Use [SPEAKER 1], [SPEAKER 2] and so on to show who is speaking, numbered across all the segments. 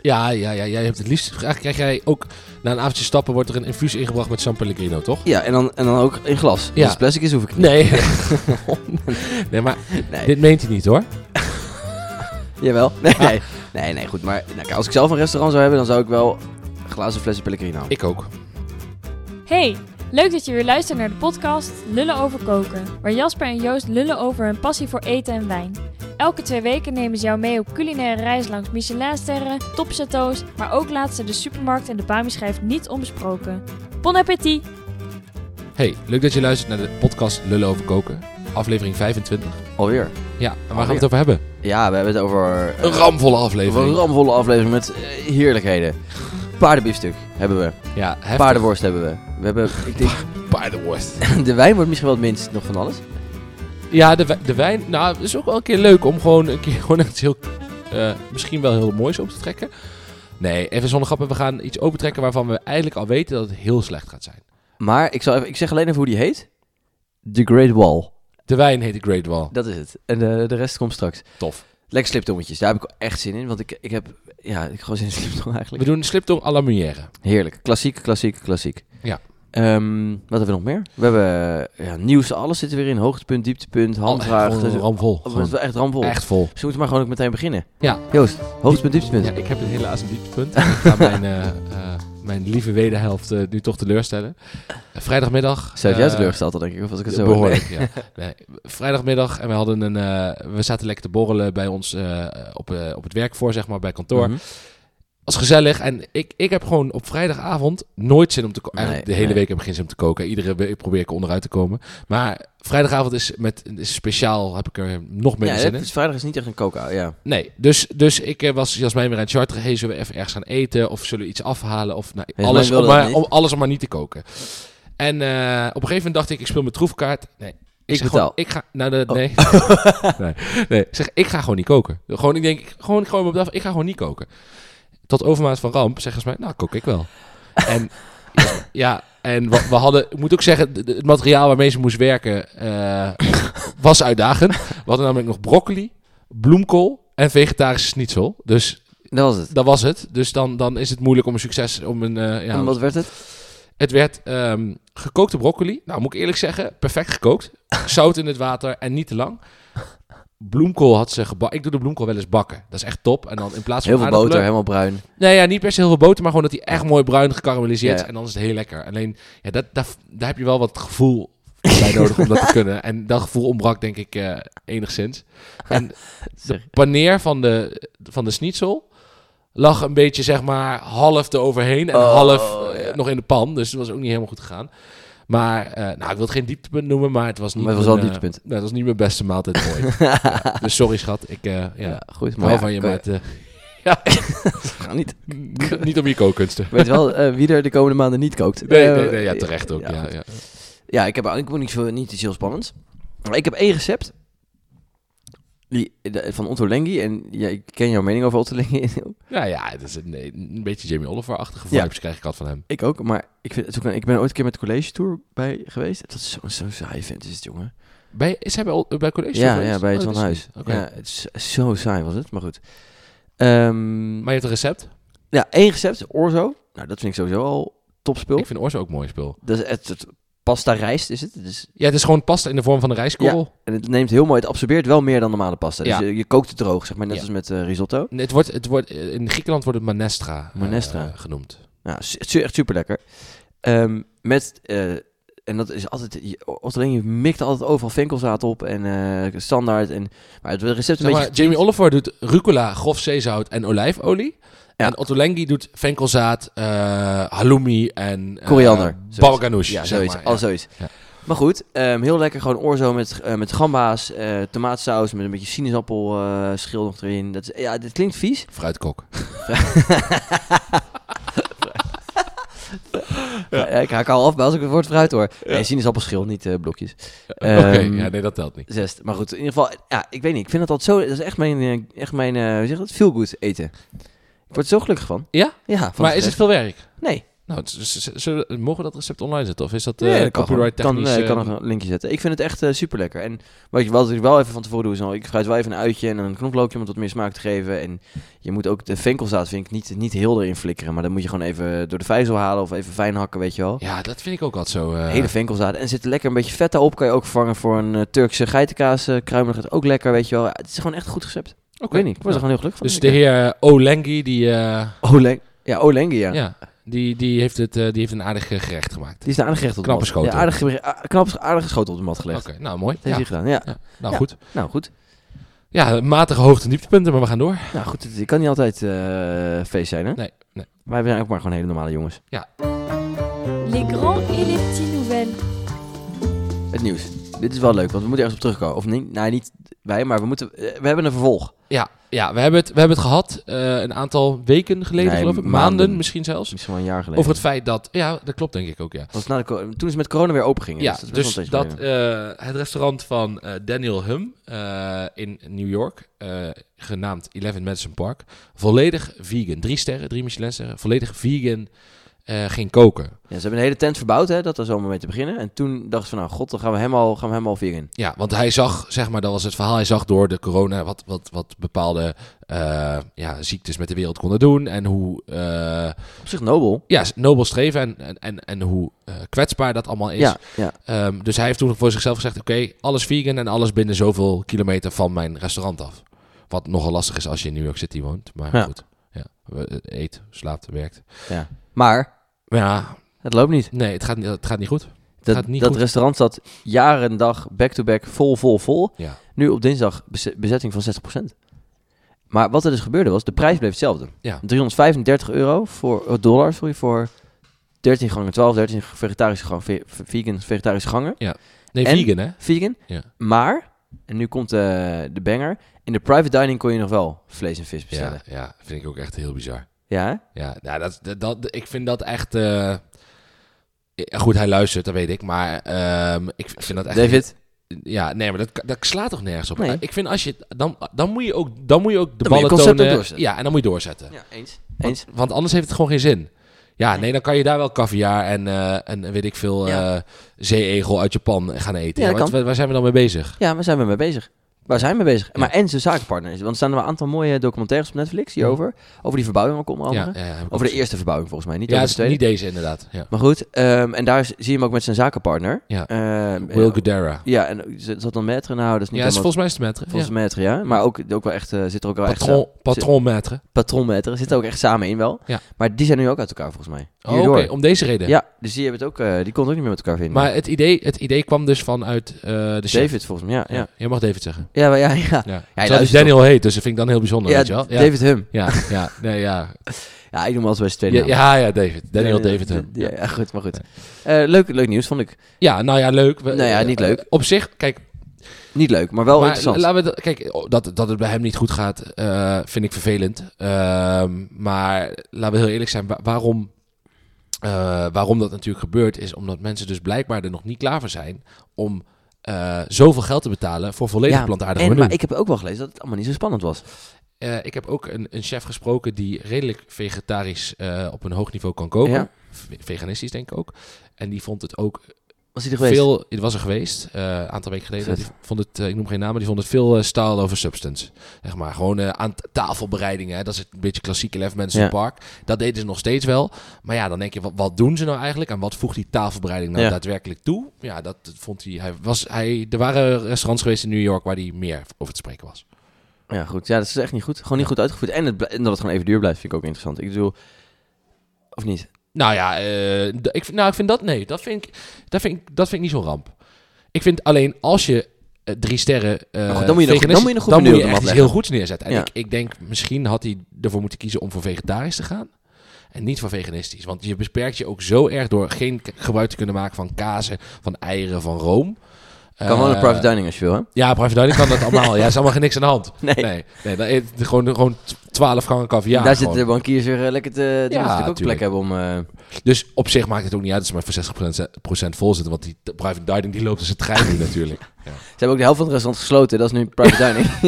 [SPEAKER 1] Ja, ja, ja, jij hebt het liefst. Eigenlijk krijg jij ook na een avondje stappen wordt er een infuus ingebracht met San Pellegrino, toch?
[SPEAKER 2] Ja, en dan, en dan ook in glas.
[SPEAKER 1] Ja.
[SPEAKER 2] Als het plastic is, hoef ik het niet.
[SPEAKER 1] Nee. Oh, nee, maar
[SPEAKER 2] Nee.
[SPEAKER 1] dit meent hij niet hoor.
[SPEAKER 2] Jawel. Nee,
[SPEAKER 1] Ah.
[SPEAKER 2] nee. nee, nee, goed. Maar nou, kijk, als ik zelf een restaurant zou hebben, dan zou ik wel glazen flessen Pellegrino.
[SPEAKER 1] Ik ook.
[SPEAKER 3] Hey, leuk dat je weer luistert naar de podcast Lullen over koken, waar Jasper en Joost lullen over hun passie voor eten en wijn. Elke twee weken nemen ze jou mee op culinaire reis langs Michelinsterren, topchateaus, maar ook laatst ze de supermarkt en de bami-schijf niet onbesproken. Bon appétit!
[SPEAKER 1] Hey, leuk dat je luistert naar de podcast Lullen over koken, aflevering 25.
[SPEAKER 2] Alweer.
[SPEAKER 1] Oh, Ja, en waar gaan we
[SPEAKER 2] Alweer.
[SPEAKER 1] het over hebben?
[SPEAKER 2] Ja, we hebben het over... eh,
[SPEAKER 1] Een ramvolle
[SPEAKER 2] over
[SPEAKER 1] aflevering.
[SPEAKER 2] een ramvolle aflevering met eh, heerlijkheden. Paardenbiefstuk hebben we.
[SPEAKER 1] Ja, heftig.
[SPEAKER 2] Paardenworst hebben we. We hebben, ik denk,
[SPEAKER 1] Paardenworst.
[SPEAKER 2] de wijn wordt misschien wel het minst nog van alles.
[SPEAKER 1] Ja, de, wij- de wijn. Nou, het is ook wel een keer leuk om gewoon een keer gewoon echt heel. eh, misschien wel heel moois op te trekken. Nee, even zonder grappen. We gaan iets opentrekken waarvan we eigenlijk al weten dat het heel slecht gaat zijn.
[SPEAKER 2] Maar ik, zal even, ik zeg alleen even hoe die heet. The Great Wall.
[SPEAKER 1] De wijn heet de Great Wall.
[SPEAKER 2] Dat is het. En eh, de rest komt straks.
[SPEAKER 1] Tof.
[SPEAKER 2] Lekker sliptongetjes. Daar heb ik echt zin in. Want ik, ik heb... Ja, ik heb gewoon zin in sliptong
[SPEAKER 1] We
[SPEAKER 2] eigenlijk.
[SPEAKER 1] doen een sliptong à la Menière.
[SPEAKER 2] Heerlijk. Klassiek, klassiek, klassiek.
[SPEAKER 1] Ja.
[SPEAKER 2] Ehm, wat hebben we nog meer? We hebben eh, ja, nieuws. Alles zit er weer in. Hoogtepunt, dieptepunt, handvraag.
[SPEAKER 1] Gewoon
[SPEAKER 2] Dus-
[SPEAKER 1] Oh, ramvol.
[SPEAKER 2] Oh,
[SPEAKER 1] Gewoon
[SPEAKER 2] Het is wel echt ramvol.
[SPEAKER 1] echt vol.
[SPEAKER 2] Dus we moeten maar gewoon ook meteen beginnen.
[SPEAKER 1] Ja.
[SPEAKER 2] Joost, hoogtepunt, dieptepunt.
[SPEAKER 1] Ja, ik heb het helaas een dieptepunt. ik ga mijn, eh, eh, mijn lieve wederhelft eh, nu toch teleurstellen. Eh, vrijdagmiddag.
[SPEAKER 2] Zou het jou
[SPEAKER 1] eh,
[SPEAKER 2] teleurgesteld al, denk ik. Of als ik het zo...
[SPEAKER 1] Behoorlijk, ja. Nee, vrijdagmiddag en we hadden een... eh, we zaten lekker te borrelen bij ons eh, op, eh, op het werk voor, zeg maar, bij kantoor.
[SPEAKER 2] Mhm.
[SPEAKER 1] Als gezellig. En ik, ik heb gewoon op vrijdagavond nooit zin om te koken. Eigenlijk
[SPEAKER 2] Nee,
[SPEAKER 1] de hele
[SPEAKER 2] nee.
[SPEAKER 1] week heb ik geen zin om te koken. Iedere week probeer ik onderuit te komen. Maar vrijdagavond is, met, is speciaal, heb ik er nog meer
[SPEAKER 2] Ja,
[SPEAKER 1] zin
[SPEAKER 2] het
[SPEAKER 1] in.
[SPEAKER 2] is vrijdag is niet echt een coca. Ja.
[SPEAKER 1] Nee, dus, dus ik eh, was Jasmijn weer aan het charteren. Hey, zullen we even ergens gaan eten? Of zullen we iets afhalen? Of nou,
[SPEAKER 2] Jasmijn
[SPEAKER 1] alles, om
[SPEAKER 2] wilde
[SPEAKER 1] maar,
[SPEAKER 2] dat niet.
[SPEAKER 1] om, alles om maar niet te koken. En eh, op een gegeven moment dacht ik, ik speel mijn troefkaart. Nee,
[SPEAKER 2] Ik
[SPEAKER 1] zeg
[SPEAKER 2] betaal.
[SPEAKER 1] Gewoon, ik ga, nou, dat-
[SPEAKER 2] Oh.
[SPEAKER 1] nee. nee. Nee, ik zeg, ik ga gewoon niet koken. Gewoon, ik denk, gewoon, gewoon op de af, ik ga gewoon niet koken. Tot overmaat van ramp zeggen ze mij, nou, kook ik wel. En ja, ja, en we, we hadden, ik moet ook zeggen, de- de- het materiaal waarmee ze moest werken eh, was uitdagend. We hadden namelijk nog broccoli, bloemkool en vegetarische schnitzel. Dus
[SPEAKER 2] Dat was het.
[SPEAKER 1] dat was het. Dus dan, dan is het moeilijk om een succes, om een, eh, ja,
[SPEAKER 2] En wat werd het?
[SPEAKER 1] het werd ehm, gekookte broccoli. Nou, moet ik eerlijk zeggen, perfect gekookt. Zout in het water en niet te lang. Bloemkool had ze gebakken. Ik doe de bloemkool wel eens bakken. Dat is echt top. En dan in plaats van
[SPEAKER 2] Heel veel boter,
[SPEAKER 1] aardappelen-
[SPEAKER 2] helemaal bruin.
[SPEAKER 1] Nee, ja, niet per se heel veel boter, maar gewoon dat hij echt mooi bruin gekarameliseerd is.
[SPEAKER 2] Ja.
[SPEAKER 1] En dan is het heel lekker. Alleen, ja, dat, dat, daar heb je wel wat gevoel bij nodig om dat te kunnen. En dat gevoel ontbrak, denk ik, eh, enigszins. En de
[SPEAKER 2] Sorry.
[SPEAKER 1] paneer van de, van de schnitzel lag een beetje, zeg maar, half eroverheen en
[SPEAKER 2] Oh,
[SPEAKER 1] half eh,
[SPEAKER 2] ja.
[SPEAKER 1] nog in de pan. Dus dat was ook niet helemaal goed gegaan. Maar, eh, nou, ik wil het geen dieptepunt noemen, maar het was niet,
[SPEAKER 2] Maar het was
[SPEAKER 1] mijn,
[SPEAKER 2] wel een
[SPEAKER 1] eh,
[SPEAKER 2] dieptepunt.
[SPEAKER 1] nou, het was niet mijn beste maaltijd ooit. Ja, dus sorry, schat. Ik, eh ja,
[SPEAKER 2] Ja, goed.
[SPEAKER 1] ik hou
[SPEAKER 2] ja,
[SPEAKER 1] van je,
[SPEAKER 2] kan-
[SPEAKER 1] maar het, eh,
[SPEAKER 2] Ga niet.
[SPEAKER 1] niet- niet om je kookkunsten.
[SPEAKER 2] Weet wel eh, wie er de komende maanden niet kookt.
[SPEAKER 1] Nee,
[SPEAKER 2] Eh,
[SPEAKER 1] nee, nee, ja, terecht ook. Ja,
[SPEAKER 2] goed.
[SPEAKER 1] ja,
[SPEAKER 2] Ja, ik heb eigenlijk ook niet, veel, niet iets heel spannends. Maar ik heb één recept. Die, de- van Otto Lengi. En ja, ik ken jouw mening over Otto Lengi.
[SPEAKER 1] Nou ja, het is een, nee, een beetje Jamie Oliver-achtige
[SPEAKER 2] Ja.
[SPEAKER 1] vibes krijg ik altijd van hem.
[SPEAKER 2] ik ook. Maar ik, vind, het ook- ik ben ooit een keer met de college tour bij geweest. Dat is zo'n zo saai vent is het, jongen.
[SPEAKER 1] Bij, is hij bij, Ol- bij college?
[SPEAKER 2] ja,
[SPEAKER 1] geweest?
[SPEAKER 2] ja, bij
[SPEAKER 1] Oh,
[SPEAKER 2] het
[SPEAKER 1] dat
[SPEAKER 2] van
[SPEAKER 1] is-
[SPEAKER 2] huis.
[SPEAKER 1] Oké.
[SPEAKER 2] Ja, het is zo saai was het. Maar goed. Ehm,
[SPEAKER 1] Maar je hebt een recept?
[SPEAKER 2] ja, één recept. Orzo. Nou, dat vind ik sowieso al topspul.
[SPEAKER 1] Ik vind Orzo ook een mooi spul.
[SPEAKER 2] Dat is het, het pasta rijst is het. Het is
[SPEAKER 1] Ja, het is gewoon pasta in de vorm van een rijstkorrel.
[SPEAKER 2] En het neemt heel mooi, het absorbeert wel meer dan normale pasta. Dus
[SPEAKER 1] Ja.
[SPEAKER 2] je, je kookt het droog, zeg maar, net
[SPEAKER 1] Ja.
[SPEAKER 2] als met eh, risotto.
[SPEAKER 1] Nee, Het wordt, het wordt, eh, in Griekenland wordt het manestra, eh,
[SPEAKER 2] Manestra.
[SPEAKER 1] genoemd.
[SPEAKER 2] Nou, su- het is echt super lekker. met, eh, en dat is altijd, je- Otterling je mikt altijd overal venkelzaad op en eh, standaard. En, maar het recept is een
[SPEAKER 1] Zeg maar,
[SPEAKER 2] beetje...
[SPEAKER 1] Jamie Oliver doet rucola, grof zeezout en olijfolie.
[SPEAKER 2] Ja.
[SPEAKER 1] En Otto Lengi doet venkelzaad, eh halloumi en... eh,
[SPEAKER 2] Koriander, zoiets.
[SPEAKER 1] baba ganoush,
[SPEAKER 2] Ja,
[SPEAKER 1] zeg
[SPEAKER 2] zoiets,
[SPEAKER 1] maar,
[SPEAKER 2] al zoiets.
[SPEAKER 1] Ja.
[SPEAKER 2] Maar goed, ehm, heel lekker gewoon orzo met, eh, met gamba's, eh, tomaatsaus, met een beetje sinaasappel eh, schil nog erin. Dat, is- ja, dit klinkt vies.
[SPEAKER 1] Fruitkok.
[SPEAKER 2] Ja. ik haak al af bij als ik het woord fruit hoor. Nee, sinaasappelschil, niet eh, blokjes.
[SPEAKER 1] Oké,
[SPEAKER 2] Ehm,
[SPEAKER 1] ja, nee, dat telt niet.
[SPEAKER 2] Zest. Maar goed, in ieder geval, ja, ik weet niet. Ik vind dat altijd zo. Dat is echt mijn, eh, echt mijn eh, hoe zeg je dat? Feel good eten. Ik word er zo gelukkig van.
[SPEAKER 1] Ja?
[SPEAKER 2] Ja. Van
[SPEAKER 1] Maar is het
[SPEAKER 2] recept.
[SPEAKER 1] veel werk?
[SPEAKER 2] Nee.
[SPEAKER 1] Nou, z- z- z- zullen we- mogen we dat recept online zetten? Of is dat
[SPEAKER 2] Ja,
[SPEAKER 1] eh
[SPEAKER 2] dat kan
[SPEAKER 1] copyright
[SPEAKER 2] gewoon.
[SPEAKER 1] technisch?
[SPEAKER 2] Kan, eh,
[SPEAKER 1] eh,
[SPEAKER 2] kan nog een linkje zetten. Ik vind het echt super lekker. En wat ik, wat ik wel even van tevoren doe, is al, ik fruit wel even een uitje en een knoflookje om het wat meer smaak te geven. En je moet ook de venkelzaad, vind ik, niet, niet heel erin flikkeren. Maar dan moet je gewoon even door de vijzel halen of even fijn hakken, weet je wel.
[SPEAKER 1] ja, dat vind ik ook altijd zo. eh,
[SPEAKER 2] Hele venkelzaad. En er zit lekker een beetje vet op. Kan je ook vervangen voor een eh, Turkse geitenkaas. eh, kruimelig is ook lekker, weet je wel. Het is gewoon echt een goed recept.
[SPEAKER 1] Oké.
[SPEAKER 2] Ik weet niet, ik word
[SPEAKER 1] Ja.
[SPEAKER 2] er gewoon heel gelukkig van.
[SPEAKER 1] Dus de heer eh, Olengi, die, eh,
[SPEAKER 2] Oleng... Ja, Olengi, ja.
[SPEAKER 1] ja, die, die, heeft het, eh, die heeft een aardig eh, gerecht gemaakt.
[SPEAKER 2] Die is een aardige gerecht op de
[SPEAKER 1] Knappe
[SPEAKER 2] mat.
[SPEAKER 1] schotel.
[SPEAKER 2] Ja, aardige, a- knappe- aardige schotel op de mat
[SPEAKER 1] Oké,
[SPEAKER 2] gelegd.
[SPEAKER 1] nou mooi.
[SPEAKER 2] Dat heeft
[SPEAKER 1] Ja,
[SPEAKER 2] hij gedaan, ja.
[SPEAKER 1] nou
[SPEAKER 2] Ja.
[SPEAKER 1] goed.
[SPEAKER 2] Nou, goed.
[SPEAKER 1] Ja, matige hoogte- en dieptepunten, maar we gaan door.
[SPEAKER 2] Nou goed, het kan niet altijd eh, feest zijn, hè?
[SPEAKER 1] Nee, nee.
[SPEAKER 2] Wij zijn ook maar gewoon hele normale jongens.
[SPEAKER 3] Les grands et les petits nouvelles.
[SPEAKER 2] Het nieuws. Dit is wel leuk, want we moeten ergens op terugkomen. Of nee, nou, niet wij, maar we, moeten, eh, we hebben een vervolg.
[SPEAKER 1] Ja, ja we, hebben het, we hebben het gehad eh, een aantal weken geleden,
[SPEAKER 2] Nee,
[SPEAKER 1] geloof ik. Maanden,
[SPEAKER 2] maanden.
[SPEAKER 1] misschien zelfs.
[SPEAKER 2] Misschien wel een jaar geleden.
[SPEAKER 1] Over het feit dat... Ja, dat klopt denk ik ook, ja.
[SPEAKER 2] was na de, co- toen is het met corona weer open ging.
[SPEAKER 1] Ja,
[SPEAKER 2] dus dat, is best
[SPEAKER 1] dus
[SPEAKER 2] wel een tijdje
[SPEAKER 1] dat eh, het restaurant van eh, Daniel Hum eh, in New York, eh, genaamd 11 Madison Park, volledig vegan. Drie sterren, drie Michelin sterren, volledig vegan eh, ging koken.
[SPEAKER 2] geleden. Ja, ze hebben een hele tent verbouwd, hè, dat was allemaal mee te beginnen. En toen dachten ze van, nou god, dan gaan we helemaal, gaan we helemaal vegan.
[SPEAKER 1] Ja, want hij zag, zeg maar, dat was het verhaal, hij zag door de corona wat, wat, wat bepaalde eh, ja, ziektes met de wereld konden doen en hoe... eh,
[SPEAKER 2] Op zich nobel.
[SPEAKER 1] ja, nobel streven en, en, en, en hoe eh, kwetsbaar dat allemaal is.
[SPEAKER 2] Ja, ja.
[SPEAKER 1] Ehm, dus hij heeft toen voor zichzelf gezegd: Oké, alles vegan en alles binnen zoveel kilometer van mijn restaurant af. Wat nogal lastig is als je in New York City woont. Maar
[SPEAKER 2] Ja.
[SPEAKER 1] goed, ja. We- eh, eet, slaapt, werkt.
[SPEAKER 2] Maar
[SPEAKER 1] Maar ja,
[SPEAKER 2] het loopt niet.
[SPEAKER 1] nee, het gaat, niet- het gaat niet goed.
[SPEAKER 2] Dat,
[SPEAKER 1] Gaat niet
[SPEAKER 2] dat
[SPEAKER 1] goed.
[SPEAKER 2] restaurant zat jaren en dag back-to-back vol, vol, vol.
[SPEAKER 1] Ja.
[SPEAKER 2] Nu op dinsdag bez- bezetting van 60%. Maar wat er dus gebeurde was, de prijs bleef hetzelfde.
[SPEAKER 1] Ja.
[SPEAKER 2] 335 euro voor, eh, dollar sorry, voor 13 gangen, 12, 13 vegetarische gangen, ve- ve- vegan, vegetarische gangen,
[SPEAKER 1] Nee,
[SPEAKER 2] En-
[SPEAKER 1] vegan hè?
[SPEAKER 2] vegan.
[SPEAKER 1] Ja.
[SPEAKER 2] Maar, en nu komt eh, de banger, in de private dining kon je nog wel vlees en vis
[SPEAKER 1] Ja,
[SPEAKER 2] bestellen.
[SPEAKER 1] ja, vind ik ook echt heel bizar.
[SPEAKER 2] Ja, hè?
[SPEAKER 1] Ja, nou, dat, dat, dat- ik vind dat echt. eh, Goed, hij luistert, dat weet ik. Maar ehm, ik vind dat echt.
[SPEAKER 2] David,
[SPEAKER 1] Ja, nee, maar dat, dat slaat toch nergens op.
[SPEAKER 2] Nee.
[SPEAKER 1] Ik vind als je dan, dan moet je ook, dan moet je ook de
[SPEAKER 2] Dan moet je
[SPEAKER 1] ballen
[SPEAKER 2] concept ook
[SPEAKER 1] tonen.
[SPEAKER 2] doorzetten.
[SPEAKER 1] Ja, en dan moet je doorzetten.
[SPEAKER 2] ja, eens.
[SPEAKER 1] Want,
[SPEAKER 2] eens.
[SPEAKER 1] want anders heeft het gewoon geen zin. Ja, nee, dan kan je daar wel caviar en, eh, en weet ik veel
[SPEAKER 2] Ja.
[SPEAKER 1] eh, zeeegel uit Japan gaan eten.
[SPEAKER 2] Ja,
[SPEAKER 1] Ja,
[SPEAKER 2] dat
[SPEAKER 1] want
[SPEAKER 2] kan.
[SPEAKER 1] waar, waar zijn we dan mee bezig?
[SPEAKER 2] Ja, waar zijn we mee bezig? Waar zijn we mee bezig?
[SPEAKER 1] Ja.
[SPEAKER 2] Maar en zijn zakenpartner is. Want er staan wel een aantal mooie documentaires op Netflix hierover. Over die verbouwing ook onder
[SPEAKER 1] Ja,
[SPEAKER 2] andere.
[SPEAKER 1] ja, ja, heb ik
[SPEAKER 2] Over de
[SPEAKER 1] ook
[SPEAKER 2] eerste verbouwing volgens mij,
[SPEAKER 1] gezien.
[SPEAKER 2] niet
[SPEAKER 1] ja,
[SPEAKER 2] over
[SPEAKER 1] het
[SPEAKER 2] de
[SPEAKER 1] is
[SPEAKER 2] tweede.
[SPEAKER 1] niet deze inderdaad. Ja.
[SPEAKER 2] Maar goed, ehm, en daar zie je hem ook met zijn zakenpartner.
[SPEAKER 1] Ja.
[SPEAKER 2] Ehm,
[SPEAKER 1] Will
[SPEAKER 2] eh,
[SPEAKER 1] Gudera.
[SPEAKER 2] ja, en z- zat dan metre? Nou, dat is niet
[SPEAKER 1] Ja, is
[SPEAKER 2] helemaal...
[SPEAKER 1] volgens mij is het metre.
[SPEAKER 2] Volgens metre, ja. Maar ook, ook wel echt, eh, zit er ook wel
[SPEAKER 1] ja.
[SPEAKER 2] echt...
[SPEAKER 1] Patron, patron metre.
[SPEAKER 2] eh, patron metre. Zit er ook echt samen in wel.
[SPEAKER 1] Ja.
[SPEAKER 2] Maar die zijn nu ook uit elkaar volgens mij.
[SPEAKER 1] Oh, Oké,
[SPEAKER 2] Hierdoor.
[SPEAKER 1] om deze reden.
[SPEAKER 2] Ja, dus die, hebben het ook, eh, die kon het ook niet meer met elkaar vinden.
[SPEAKER 1] Maar het idee, het idee kwam dus vanuit eh, de chef.
[SPEAKER 2] David volgens mij, ja. Ja,
[SPEAKER 1] Ja. Je mag David zeggen.
[SPEAKER 2] ja, maar ja, ja.
[SPEAKER 1] Ja.
[SPEAKER 2] hij
[SPEAKER 1] Terwijl die
[SPEAKER 2] luistert
[SPEAKER 1] Daniel heet, dus dat vind ik dan heel bijzonder,
[SPEAKER 2] Ja,
[SPEAKER 1] weet je wel? Ja,
[SPEAKER 2] David Hum.
[SPEAKER 1] ja, ja, nee, ja.
[SPEAKER 2] Ja, ik noem hem altijd bij zijn tweede
[SPEAKER 1] Ja,
[SPEAKER 2] naam.
[SPEAKER 1] ja, ja, David. Daniel
[SPEAKER 2] Ja,
[SPEAKER 1] David.
[SPEAKER 2] ja,
[SPEAKER 1] Hum.
[SPEAKER 2] Ja, ja, goed, maar goed. Eh, leuk, leuk nieuws, vond ik.
[SPEAKER 1] Ja, nou ja, leuk. We-
[SPEAKER 2] Nou ja,
[SPEAKER 1] eh,
[SPEAKER 2] niet leuk.
[SPEAKER 1] eh, Op zich, kijk,
[SPEAKER 2] Niet leuk, maar wel
[SPEAKER 1] maar
[SPEAKER 2] interessant.
[SPEAKER 1] laten we dat- kijk oh, dat, dat het bij hem niet goed gaat, eh, vind ik vervelend. Ehm, maar laten we heel eerlijk zijn, wa- waarom, eh, waarom dat natuurlijk gebeurt, is omdat mensen dus blijkbaar er nog niet klaar voor zijn om eh, zoveel geld te betalen voor volledig
[SPEAKER 2] Ja,
[SPEAKER 1] plantaardig
[SPEAKER 2] en,
[SPEAKER 1] menu.
[SPEAKER 2] maar ik heb ook wel gelezen dat het allemaal niet zo spannend was.
[SPEAKER 1] Eh, ik heb ook een, een chef gesproken die redelijk vegetarisch eh, op een hoog niveau kan koken.
[SPEAKER 2] Ja.
[SPEAKER 1] V- Veganistisch denk ik ook. En die vond het ook
[SPEAKER 2] Was hij er geweest?
[SPEAKER 1] veel... Het was er geweest, eh, een aantal weken geleden.
[SPEAKER 2] Vet.
[SPEAKER 1] Die vond het, eh, ik noem geen namen, die vond het veel eh, style over substance. Zeg maar, gewoon eh, aan t- tafelbereidingen. Hè. Dat is een beetje klassieke Lef Mensen
[SPEAKER 2] Ja.
[SPEAKER 1] Park. Dat deden ze nog steeds wel. Maar ja, dan denk je, wat, wat doen ze nou eigenlijk? En wat voegt die tafelbereiding nou
[SPEAKER 2] Ja.
[SPEAKER 1] daadwerkelijk toe? Ja, dat vond hij... hij, was, hij er waren restaurants geweest in New York waar hij meer over te spreken was.
[SPEAKER 2] Ja, goed. Ja, dat is echt niet goed. Gewoon niet goed uitgevoerd. En, het, bl- en dat het gewoon even duur blijft, vind ik ook interessant. Ik bedoel... Of niet?
[SPEAKER 1] Nou ja, eh, d- ik, vind- nou, ik vind dat nee. Dat vind ik, dat vind ik, dat vind ik niet zo'n ramp. Ik vind alleen als je eh, drie sterren. eh,
[SPEAKER 2] Maar Nou goed, dan moet je een goed- dan moet je een goed
[SPEAKER 1] dan
[SPEAKER 2] menu
[SPEAKER 1] moet je
[SPEAKER 2] op de
[SPEAKER 1] echt iets
[SPEAKER 2] mat
[SPEAKER 1] heel goeds neerzetten. En
[SPEAKER 2] Ja.
[SPEAKER 1] ik, ik denk misschien had hij ervoor moeten kiezen om voor vegetarisch te gaan. En niet voor veganistisch. Want je beperkt je ook zo erg door geen k- gebruik te kunnen maken van kazen, van eieren, van room.
[SPEAKER 2] Kan wel een
[SPEAKER 1] Eh,
[SPEAKER 2] private dining als je wil, hè?
[SPEAKER 1] Ja, private dining kan dat allemaal. ja, er is allemaal geen niks aan de hand.
[SPEAKER 2] Nee.
[SPEAKER 1] Nee, nee dan eet het gewoon, gewoon 12 gangen caviar.
[SPEAKER 2] Daar
[SPEAKER 1] gewoon.
[SPEAKER 2] zitten de bankiers weer eh, lekker te... Die
[SPEAKER 1] Ja,
[SPEAKER 2] moeten natuurlijk ook plek
[SPEAKER 1] tuurlijk.
[SPEAKER 2] hebben om... eh,
[SPEAKER 1] Dus op zich maakt het ook niet uit dat ze maar voor 60% procent vol zitten. Want die t- private dining die loopt als een trein nu natuurlijk.
[SPEAKER 2] Ze hebben ook de helft van het restaurant gesloten. Dat is nu private dining.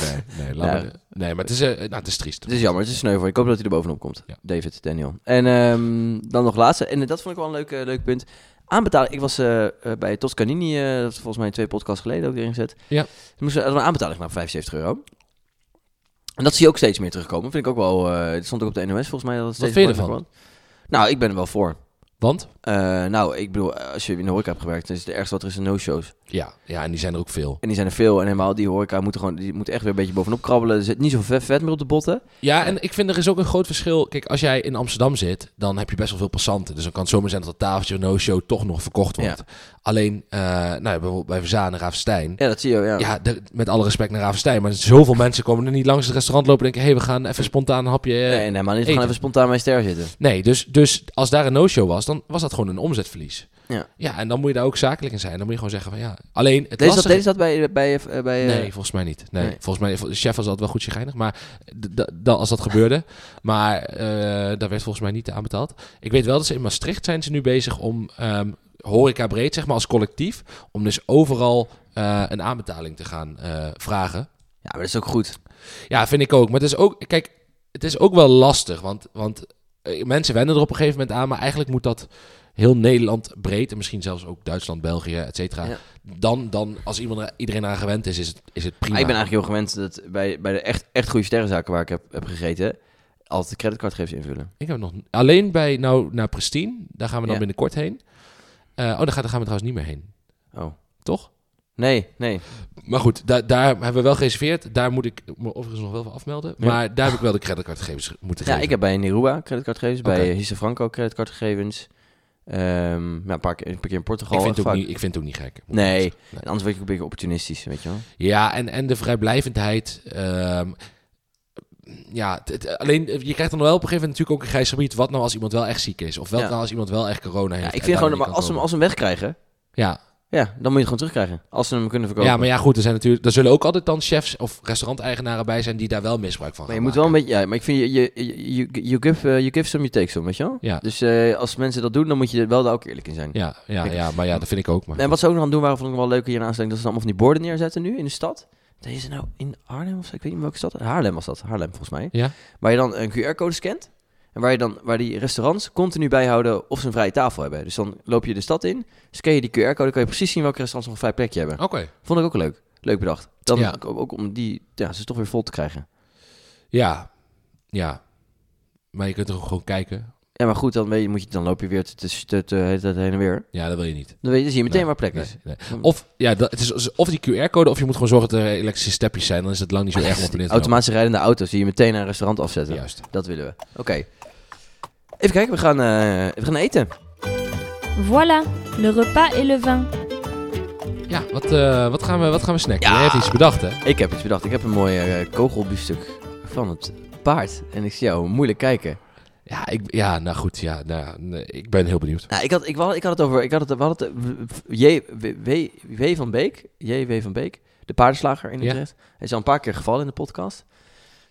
[SPEAKER 1] Nee, nee, laat
[SPEAKER 2] Ja.
[SPEAKER 1] maar. Nee, maar het is, eh, nou, het is triest.
[SPEAKER 2] Het is jammer, het is sneu voor. Ik hoop dat hij er bovenop komt.
[SPEAKER 1] Ja.
[SPEAKER 2] David, Daniel. En ehm, dan nog laatste. En dat vond ik wel een leuk, eh, leuk punt. Aanbetaling. Ik was eh, eh, bij Toscanini, eh, dat is volgens mij twee podcasts geleden ook erin gezet.
[SPEAKER 1] Ja.
[SPEAKER 2] Toen moesten we hadden we een aanbetaling van 75 euro. En dat zie je ook steeds meer terugkomen. Vind ik ook wel... eh, het stond ook op de NOS volgens mij. Dat het
[SPEAKER 1] Wat
[SPEAKER 2] steeds
[SPEAKER 1] vind je
[SPEAKER 2] belangrijker wordt. Nou, ik ben er wel voor.
[SPEAKER 1] Want?
[SPEAKER 2] Eh, nou, ik bedoel, als je in de horeca hebt gewerkt, dan is het ergste wat er is een no-shows.
[SPEAKER 1] Ja, ja, en die zijn er ook veel.
[SPEAKER 2] En die zijn er veel. En helemaal die horeca moet, gewoon, die moet echt weer een beetje bovenop krabbelen. Er zit niet zoveel vet meer op de botten.
[SPEAKER 1] Ja, en ik vind er is ook een groot verschil. Kijk, als jij in Amsterdam zit, dan heb je best wel veel passanten. Dus dan kan het zomaar zijn dat het tafeltje no-show toch nog verkocht wordt. Alleen, eh, nou, bijvoorbeeld bij Verzaan en Ravenstein.
[SPEAKER 2] Ja, dat zie je. Ja.
[SPEAKER 1] Ja, de- met alle respect naar Ravenstein. Maar zoveel mensen komen er niet langs het restaurant lopen en denken... hé, hey, we gaan even spontaan een hapje... eh,
[SPEAKER 2] nee, nee, maar niet. We
[SPEAKER 1] eten.
[SPEAKER 2] gaan even spontaan bij ster zitten.
[SPEAKER 1] Nee, dus, dus als daar een no-show was, dan was dat gewoon een omzetverlies.
[SPEAKER 2] Ja.
[SPEAKER 1] ja, en dan moet je daar ook zakelijk in zijn. Dan moet je gewoon zeggen van ja... Alleen, het
[SPEAKER 2] Deze dat,
[SPEAKER 1] lastige-
[SPEAKER 2] deze dat bij... bij, eh, bij eh,
[SPEAKER 1] Nee, volgens mij niet. Nee,
[SPEAKER 2] Nee.
[SPEAKER 1] volgens mij... De chef was altijd wel goed chagrijnig, maar d- d- dan- als dat gebeurde. Maar eh, daar werd volgens mij niet aan betaald. Ik weet wel dat ze in Maastricht zijn ze nu bezig om... ehm, horeca breed, zeg maar, als collectief... om dus overal eh, een aanbetaling te gaan eh, vragen.
[SPEAKER 2] Ja, maar dat is ook goed.
[SPEAKER 1] Ja, vind ik ook. Maar het is ook, kijk, het is ook wel lastig. Want, want eh, mensen wennen er op een gegeven moment aan. Maar eigenlijk moet dat heel Nederland breed. En misschien zelfs ook Duitsland, België, et cetera.
[SPEAKER 2] Ja.
[SPEAKER 1] Dan, dan, als iemand er, iedereen aan gewend is, is het, is het prima.
[SPEAKER 2] Maar Ah, ik ben eigenlijk heel gewend dat bij, bij de echt, echt goede sterrenzaken waar ik heb, heb gegeten, altijd de creditcardgegevens invullen.
[SPEAKER 1] Ik heb nog alleen bij, nou, naar Pristine. Daar gaan we dan
[SPEAKER 2] Ja.
[SPEAKER 1] binnenkort heen. Eh, oh, daar gaan, daar gaan we trouwens niet meer heen.
[SPEAKER 2] Oh.
[SPEAKER 1] Toch?
[SPEAKER 2] Nee, nee.
[SPEAKER 1] Maar goed, da- daar hebben we wel gereserveerd. Daar moet ik me overigens nog wel voor afmelden.
[SPEAKER 2] Ja.
[SPEAKER 1] Maar daar heb ik wel de creditcardgegevens moeten
[SPEAKER 2] Ja,
[SPEAKER 1] geven.
[SPEAKER 2] ik heb bij Neruba creditcardgegevens, bij
[SPEAKER 1] Oké.
[SPEAKER 2] eh, Hisse Franco creditcardgegevens. Ehm ja, een paar keer, een paar keer in Portugal.
[SPEAKER 1] Ik vind, het
[SPEAKER 2] echt
[SPEAKER 1] ook
[SPEAKER 2] vaak.
[SPEAKER 1] niet, ik vind het ook niet gek. moet ik
[SPEAKER 2] Nee.
[SPEAKER 1] zeggen.
[SPEAKER 2] En anders word ik ook een beetje opportunistisch, weet je wel.
[SPEAKER 1] Ja, en, en de vrijblijvendheid. ehm, ja, het- het- alleen eh, je krijgt dan wel op een gegeven moment natuurlijk ook een grijs gebied. Wat nou als iemand wel echt ziek is? Of wat
[SPEAKER 2] Ja.
[SPEAKER 1] nou als iemand wel echt corona heeft?
[SPEAKER 2] Ja, ik
[SPEAKER 1] en
[SPEAKER 2] vind
[SPEAKER 1] daarmee
[SPEAKER 2] gewoon, maar
[SPEAKER 1] kan
[SPEAKER 2] als ze, hem,
[SPEAKER 1] komen?
[SPEAKER 2] als ze hem wegkrijgen,
[SPEAKER 1] Ja.
[SPEAKER 2] ja, dan moet je het gewoon terugkrijgen. Als ze hem kunnen verkopen.
[SPEAKER 1] ja, maar ja, goed. Er, zijn natuurlijk, er zullen ook altijd dan chefs of restauranteigenaren bij zijn die daar wel misbruik van
[SPEAKER 2] Maar
[SPEAKER 1] gaan
[SPEAKER 2] je moet wel
[SPEAKER 1] maken.
[SPEAKER 2] een beetje, ja, maar ik vind, je, je, je- you, you give, eh, you give some, you take some, weet je wel?
[SPEAKER 1] Ja.
[SPEAKER 2] Dus eh, als mensen dat doen, dan moet je er wel daar ook eerlijk in zijn.
[SPEAKER 1] Ja, ja, ja, maar ja, dat vind ik ook. Maar
[SPEAKER 2] En wat ze ook nog aan het doen waren, vond ik wel leuk hier in aanstelling, dat ze dan allemaal van die borden neerzetten nu in de stad. Deze nou in Arnhem of zo, ik weet niet welke stad. Haarlem was dat, Haarlem volgens mij.
[SPEAKER 1] Ja.
[SPEAKER 2] Waar je dan een QR-code scant en waar, je dan, waar die restaurants continu bijhouden of ze een vrije tafel hebben. Dus dan loop je de stad in, scan je die QR-code, kan je precies zien welke restaurants nog een vrij plekje hebben.
[SPEAKER 1] Oké.
[SPEAKER 2] Vond ik ook leuk. Leuk bedacht. Dan
[SPEAKER 1] Ja.
[SPEAKER 2] ook, ook om die, ja, ze toch weer vol te krijgen.
[SPEAKER 1] Ja. Ja. Maar je kunt er ook gewoon kijken.
[SPEAKER 2] Ja, maar goed, dan, weet je, moet je, dan loop je weer te, te, te, te- de hele tijd heen en weer.
[SPEAKER 1] Ja, dat wil je niet.
[SPEAKER 2] Dan weet je, dan zie je meteen
[SPEAKER 1] Nee,
[SPEAKER 2] waar plek
[SPEAKER 1] nee,
[SPEAKER 2] is.
[SPEAKER 1] nee. Of, ja, dat, het is of die QR-code of je moet gewoon zorgen dat er elektrische stepjes zijn. Dan is het lang niet
[SPEAKER 2] Ah,
[SPEAKER 1] zo erg om op en neer te lopen.
[SPEAKER 2] Automatische rijdende auto's die je meteen naar een restaurant afzetten.
[SPEAKER 1] Juist.
[SPEAKER 2] Dat willen we. Oké. Even kijken, we gaan, eh, we gaan eten.
[SPEAKER 3] Voilà, le repas et le vin.
[SPEAKER 1] Ja, wat, eh, wat, gaan we, wat gaan we snacken?
[SPEAKER 2] Ja.
[SPEAKER 1] Jij hebt iets bedacht, hè?
[SPEAKER 2] Ik heb iets bedacht. Ik heb een mooi eh, kogelbiefstuk van het paard. En ik zie jou moeilijk kijken.
[SPEAKER 1] Ja, ik, ja nou goed, ja, nou, ja, nee, ik ben heel benieuwd.
[SPEAKER 2] Nou, ik had, ik, wa- ik had het over... Ik had het, we hadden het, eh, J, w, W- W van Beek. J.W. van Beek. De paardenslager in
[SPEAKER 1] Ja.
[SPEAKER 2] Utrecht. Hij is al een paar keer gevallen in de podcast.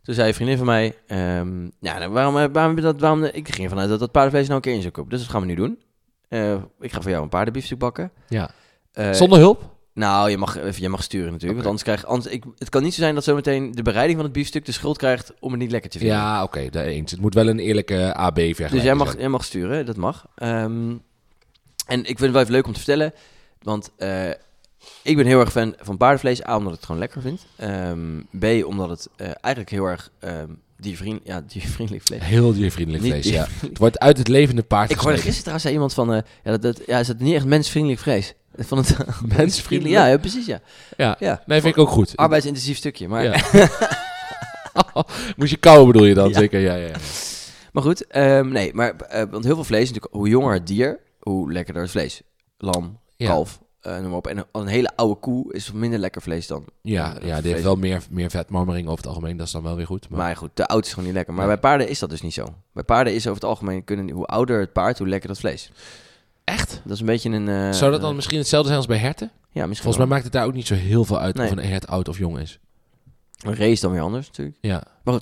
[SPEAKER 2] Toen zei een vriendin van mij... ehm, ja, nou, waarom, eh, waarom, heb je dat, waarom... Ik ging ervan uit dat dat paardenvlees nou een keer in zou kopen. Dus dat gaan we nu doen. Eh, ik ga voor jou een paardenbiefstuk bakken.
[SPEAKER 1] Ja.
[SPEAKER 2] Eh,
[SPEAKER 1] Zonder hulp?
[SPEAKER 2] Nou, je mag, even- je mag sturen natuurlijk.
[SPEAKER 1] Oké.
[SPEAKER 2] Want anders krijg anders, ik, Het kan niet zo zijn dat zometeen de bereiding van het biefstuk de schuld krijgt om het niet lekker te vinden.
[SPEAKER 1] Ja, oké, daar eens. Het moet wel een eerlijke eh, AB vergelijking
[SPEAKER 2] dus jij mag,
[SPEAKER 1] zijn.
[SPEAKER 2] jij mag sturen, dat mag. Ehm, en ik vind het wel even leuk om te vertellen. Want eh, ik ben heel erg fan van paardenvlees. A, omdat ik het gewoon lekker vind. Ehm, B, omdat het eh, eigenlijk heel erg ehm diervriend, ja, diervriendelijk vlees
[SPEAKER 1] Heel diervriendelijk
[SPEAKER 2] Niet
[SPEAKER 1] vlees, ja.
[SPEAKER 2] diervriendelijk.
[SPEAKER 1] Het wordt uit het levende paard
[SPEAKER 2] Ik hoorde
[SPEAKER 1] gesneden.
[SPEAKER 2] gisteren trouwens zei iemand van... eh, ja, dat, dat- ja, is dat niet echt mensvriendelijk vlees? Van het,
[SPEAKER 1] Mensvriendelijk?
[SPEAKER 2] Ja, Ah, ja, precies, ja.
[SPEAKER 1] Ja.
[SPEAKER 2] ja.
[SPEAKER 1] Nee, vind ik ook goed.
[SPEAKER 2] Arbeidsintensief stukje, maar...
[SPEAKER 1] Ja. Moest je kauwen bedoel je dan,
[SPEAKER 2] Ja.
[SPEAKER 1] zeker? Ja, ja, ja.
[SPEAKER 2] Maar goed, ehm, nee, maar eh, want heel veel vlees natuurlijk, hoe jonger het dier, hoe lekkerder het vlees. Lam,
[SPEAKER 1] Ja.
[SPEAKER 2] kalf, eh, noem maar op. En een, een hele oude koe is minder lekker vlees dan.
[SPEAKER 1] Ja, ja, die heeft wel meer, meer vetmarmering over het algemeen. Dat is dan wel weer goed. Maar,
[SPEAKER 2] Maar goed, te oud is gewoon niet lekker. Maar
[SPEAKER 1] Ja.
[SPEAKER 2] bij paarden is dat dus niet zo. Bij paarden is over het algemeen, kunnen, hoe ouder het paard, hoe lekker dat vlees.
[SPEAKER 1] echt?
[SPEAKER 2] Dat is een beetje een... eh,
[SPEAKER 1] Zou dat dan
[SPEAKER 2] eh,
[SPEAKER 1] misschien hetzelfde zijn als bij herten?
[SPEAKER 2] ja, misschien
[SPEAKER 1] Volgens mij maakt het daar ook niet zo heel veel uit
[SPEAKER 2] Nee.
[SPEAKER 1] of een hert oud of jong is.
[SPEAKER 2] wel. Een race is dan weer anders natuurlijk.
[SPEAKER 1] Ja.
[SPEAKER 2] In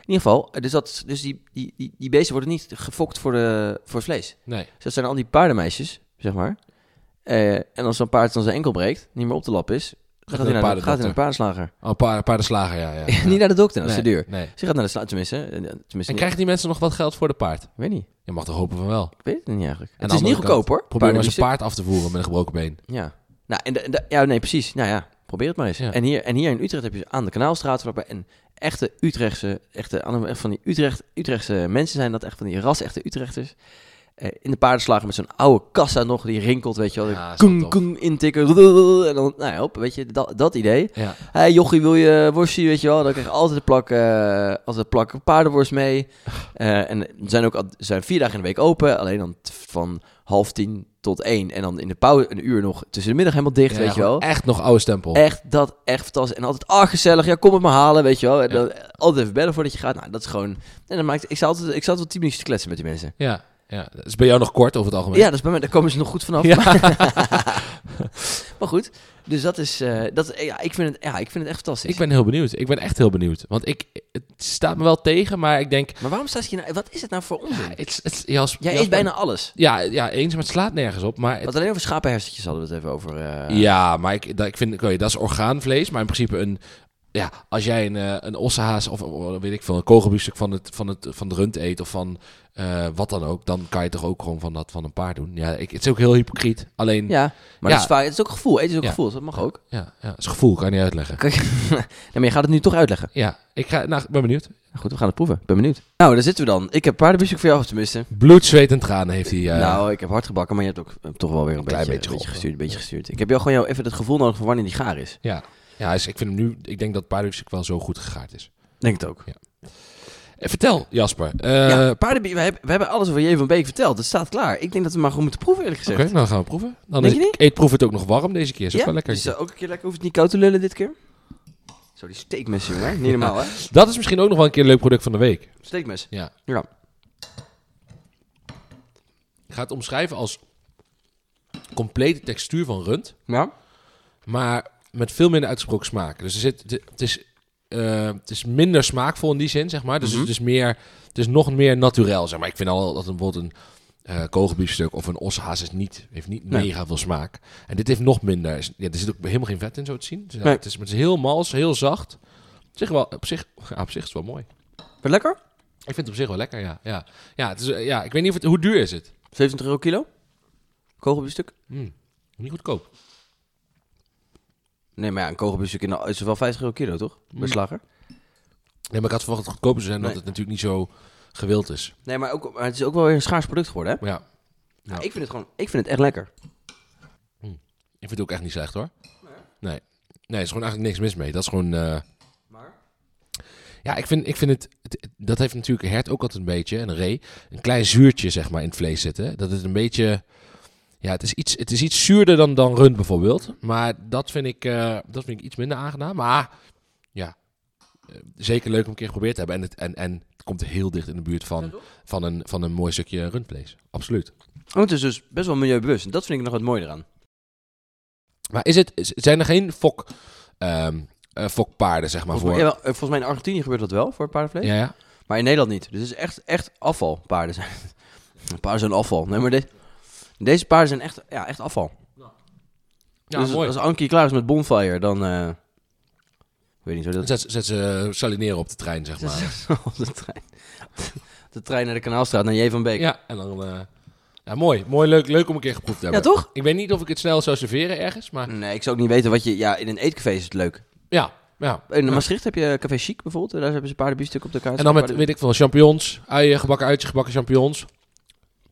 [SPEAKER 2] ieder geval, eh, dus, dat, dus die, die, die, die beesten worden niet gefokt voor, de, voor het vlees.
[SPEAKER 1] Nee.
[SPEAKER 2] Dus dat zijn al die paardenmeisjes, zeg maar. Eh, en als zo'n paard dan zijn enkel breekt, niet meer op te lap is, Gaat hij naar de, gaat hij naar de
[SPEAKER 1] paardendokter.
[SPEAKER 2] paardenslager?
[SPEAKER 1] Oh, paard- paardenslager, ja. ja, ja.
[SPEAKER 2] niet naar de dokter, dat is
[SPEAKER 1] Nee,
[SPEAKER 2] te duur.
[SPEAKER 1] Nee.
[SPEAKER 2] Ze gaat naar de slager, tenminste. eh, tenminste
[SPEAKER 1] En
[SPEAKER 2] niet-
[SPEAKER 1] krijgen die mensen nog wat geld voor de paard?
[SPEAKER 2] Ik weet niet.
[SPEAKER 1] Je mag er hopen van wel.
[SPEAKER 2] Ik weet het niet eigenlijk.
[SPEAKER 1] aan
[SPEAKER 2] het
[SPEAKER 1] de
[SPEAKER 2] is niet
[SPEAKER 1] andere
[SPEAKER 2] goedkoop hoor.
[SPEAKER 1] Probeer maar eens een
[SPEAKER 2] Paardenbiefstuk.
[SPEAKER 1] paard af te voeren met een gebroken been.
[SPEAKER 2] Ja. Nou, en, de- en de- ja, nee, precies. Nou ja, probeer het maar eens.
[SPEAKER 1] Ja.
[SPEAKER 2] En, hier, en hier in Utrecht heb je aan de Kanaalstraat waarbij een echte Utrechtse, echte, echt van die Utrecht, Utrechtse mensen zijn dat echt van die ras, echte Utrechters. Eh, in de paardenslager met zo'n oude kassa nog die rinkelt, weet je wel.
[SPEAKER 1] Ja, is wel
[SPEAKER 2] koen,
[SPEAKER 1] tof.
[SPEAKER 2] koen, intikken. En dan, nou ja, hop, weet je, dat, dat idee.
[SPEAKER 1] Ja.
[SPEAKER 2] Hé, jochie, wil je worstje, weet je wel? Dan krijg je altijd een plak, eh, altijd een plak paardenworst mee. Eh, en ze zijn ook al- ze zijn vier dagen in de week open. Alleen dan t- van half tien tot één. En dan in de pauze een uur nog tussen de middag helemaal dicht,
[SPEAKER 1] Ja,
[SPEAKER 2] weet je wel. Eh.
[SPEAKER 1] gewoon Echt nog oude stempel.
[SPEAKER 2] Echt, dat, echt fantastisch. En altijd, ah, gezellig, ja, kom het maar halen, weet je wel. En
[SPEAKER 1] Ja.
[SPEAKER 2] dan, eh, altijd even bellen voordat je gaat. Nou, dat is gewoon... En dan maakt, ik zat altijd, ik zat altijd tien minuutjes te kletsen met die mensen.
[SPEAKER 1] Ja. ja. Dat is bij jou nog kort over het algemeen.
[SPEAKER 2] Ja, dat is bij mij, daar komen ze nog goed vanaf.
[SPEAKER 1] Ja.
[SPEAKER 2] maar goed, dus dat is... eh, dat, eh, ja, ik vind het, ja, ik vind het echt fantastisch.
[SPEAKER 1] Ik ben heel benieuwd. Ik ben echt heel benieuwd. Want ik, het staat me wel tegen, maar ik denk...
[SPEAKER 2] Maar waarom staat je nou... Wat is het nou voor onzin?
[SPEAKER 1] Ja, het, het, Jas-
[SPEAKER 2] Jij
[SPEAKER 1] Jasper-
[SPEAKER 2] eet bijna alles.
[SPEAKER 1] Ja, ja, eens, maar het slaat nergens op. Maar het-
[SPEAKER 2] Want alleen over schapenhersenjes hadden we het even over. eh,
[SPEAKER 1] Ja, maar ik, dat, ik vind, oké, dat is orgaanvlees, maar in principe een... Ja, als jij een, eh, een ossehaas of eh, weet ik veel, een kogelbiefstuk van, het, van, het, van de rund eet of van eh, wat dan ook, dan kan je toch ook gewoon van dat van een paard doen. Ja, ik, het is ook heel hypocriet. Alleen, ja,
[SPEAKER 2] Ja, maar
[SPEAKER 1] Ja.
[SPEAKER 2] Dat is vaak, het is ook gevoel. Eten is ook
[SPEAKER 1] Ja.
[SPEAKER 2] gevoel, dus dat mag ook.
[SPEAKER 1] ja, het is gevoel, kan je niet uitleggen.
[SPEAKER 2] Kijk, nee, maar je gaat het nu toch uitleggen.
[SPEAKER 1] Ja, ik ga, nou, ik ben benieuwd.
[SPEAKER 2] Goed, we gaan het proeven. Ik ben benieuwd. Nou, daar zitten we dan. Ik heb paardenbusje voor jou, tenminste.
[SPEAKER 1] Bloed, zweet en tranen heeft hij. eh,
[SPEAKER 2] Nou, ik heb hard gebakken, maar je hebt ook eh, toch wel weer een,
[SPEAKER 1] Een klein
[SPEAKER 2] beetje,
[SPEAKER 1] beetje
[SPEAKER 2] een beetje
[SPEAKER 1] geholpen.
[SPEAKER 2] gestuurd. Een beetje gestuurd. Ik heb jou gewoon jou even het gevoel nodig van wanneer die gaar is.
[SPEAKER 1] Ja, ja dus ik vind hem nu. Ik denk dat het paardenbiefstuk wel zo goed gegaard is.
[SPEAKER 2] Denk het ook.
[SPEAKER 1] Eh, vertel, Jasper. Eh,
[SPEAKER 2] ja, paardenbiefstuk, we, hebben- we hebben alles over J van Beek verteld. Het staat klaar. Ik denk dat we maar gewoon moeten proeven, eerlijk
[SPEAKER 1] Oké,
[SPEAKER 2] gezegd.
[SPEAKER 1] nou, dan gaan we proeven. Dan
[SPEAKER 2] Denk
[SPEAKER 1] is,
[SPEAKER 2] je niet?
[SPEAKER 1] ik eet proef het ook nog warm deze keer. Is ook
[SPEAKER 2] Ja,
[SPEAKER 1] wel lekker.
[SPEAKER 2] dus eh, ook een keer lekker. Hoeft het niet koud te lullen dit keer? Zo, die steekmes, jongen. Niet normaal, hè?
[SPEAKER 1] Dat is misschien ook nog wel een keer een leuk product van de week.
[SPEAKER 2] Steekmes.
[SPEAKER 1] Ja.
[SPEAKER 2] Ja.
[SPEAKER 1] Ik ga het omschrijven als complete textuur van rund,
[SPEAKER 2] Ja?
[SPEAKER 1] maar met veel minder uitgesproken smaak. Dus er zit, de- het, is, eh, het is minder smaakvol in die zin, zeg maar. Dus
[SPEAKER 2] Mhm.
[SPEAKER 1] het is meer, het is nog meer naturel, zeg maar. Ik vind al dat een, bijvoorbeeld een eh kogelbiefstuk of een ossehaas is niet, heeft niet
[SPEAKER 2] Nee.
[SPEAKER 1] mega veel smaak. En dit heeft nog minder. Is- Ja, er zit ook helemaal geen vet in, zo te zien. Dus ja,
[SPEAKER 2] Nee.
[SPEAKER 1] het, is, het is heel mals, heel zacht. Op zich, wel, op, zich, ja, op zich is het wel mooi.
[SPEAKER 2] Wat lekker?
[SPEAKER 1] Ik vind het op zich wel lekker, ja. Ja, ja, het is, eh, ja ik weet niet of het, hoe duur is het?
[SPEAKER 2] 70 euro kilo? Kogelbiefstuk?
[SPEAKER 1] Mm, niet goedkoop.
[SPEAKER 2] Nee, maar ja, een kogelbiefstuk in de- is wel 50 euro kilo, toch? Bij
[SPEAKER 1] Mm.
[SPEAKER 2] slager.
[SPEAKER 1] Nee, maar ik had verwacht dat het goedkoper zou zijn,
[SPEAKER 2] Nee.
[SPEAKER 1] omdat het natuurlijk niet zo gewild is.
[SPEAKER 2] Nee, maar, ook, maar het is ook wel weer een schaars product geworden, hè?
[SPEAKER 1] Maar ja, Ja.
[SPEAKER 2] Nou, ik vind het gewoon, ik vind het echt lekker.
[SPEAKER 1] ik vind het ook echt niet slecht hoor. Nee. Nee, er is gewoon eigenlijk niks mis mee. Dat is gewoon... eh,
[SPEAKER 2] Maar?
[SPEAKER 1] Ja, ik vind, ik vind het, het- Dat heeft natuurlijk een hert ook altijd een beetje, en een ree. Een klein zuurtje, zeg maar, in het vlees zitten. Dat het een beetje... Ja, het is iets, het is iets zuurder dan, dan rund bijvoorbeeld. Maar dat vind, ik, eh, dat vind ik iets minder aangenaam. Maar ja, eh, zeker leuk om een keer geprobeerd te hebben. En het, en, en het komt heel dicht in de buurt van, van, een, van een mooi stukje rundvlees. Absoluut.
[SPEAKER 2] Oh, het is dus best wel milieubewust. En dat vind ik nog wat mooier eraan.
[SPEAKER 1] Maar is het, z- zijn er geen fok, ehm, eh, fokpaarden, zeg maar,
[SPEAKER 2] Volgens, mij,
[SPEAKER 1] voor...
[SPEAKER 2] jawel, eh, volgens mij in Argentinië gebeurt dat wel voor paardenvlees.
[SPEAKER 1] Ja, ja.
[SPEAKER 2] Maar in Nederland niet. Dus het is echt, echt afval, paarden zijn. paarden zijn afval. Nee, maar dit, deze paarden zijn echt, ja, echt afval.
[SPEAKER 1] Ja,
[SPEAKER 2] dus
[SPEAKER 1] mooi.
[SPEAKER 2] als Ankie klaar is met Bonfire, dan... eh, ik weet niet hoe dat...
[SPEAKER 1] Zet, zet ze eh, salineren op de trein, zeg maar.
[SPEAKER 2] Op de trein. De trein naar de Kanaalstraat, naar J van Beek.
[SPEAKER 1] Ja, en dan... eh, ja, mooi. Mooi, leuk, leuk om een keer geproefd te
[SPEAKER 2] ja
[SPEAKER 1] hebben.
[SPEAKER 2] toch?
[SPEAKER 1] Ik weet niet of ik het snel zou serveren ergens, maar...
[SPEAKER 2] Nee, ik zou ook niet weten wat je... Ja, in een eetcafé is het leuk.
[SPEAKER 1] Ja, ja.
[SPEAKER 2] In Maastricht heb je Café Chic bijvoorbeeld. Daar hebben ze paardenbiefstuk op de kaart.
[SPEAKER 1] En dan met,
[SPEAKER 2] Paarden-
[SPEAKER 1] weet ik veel, champignons. Uien, gebakken uitje, gebakken champignons.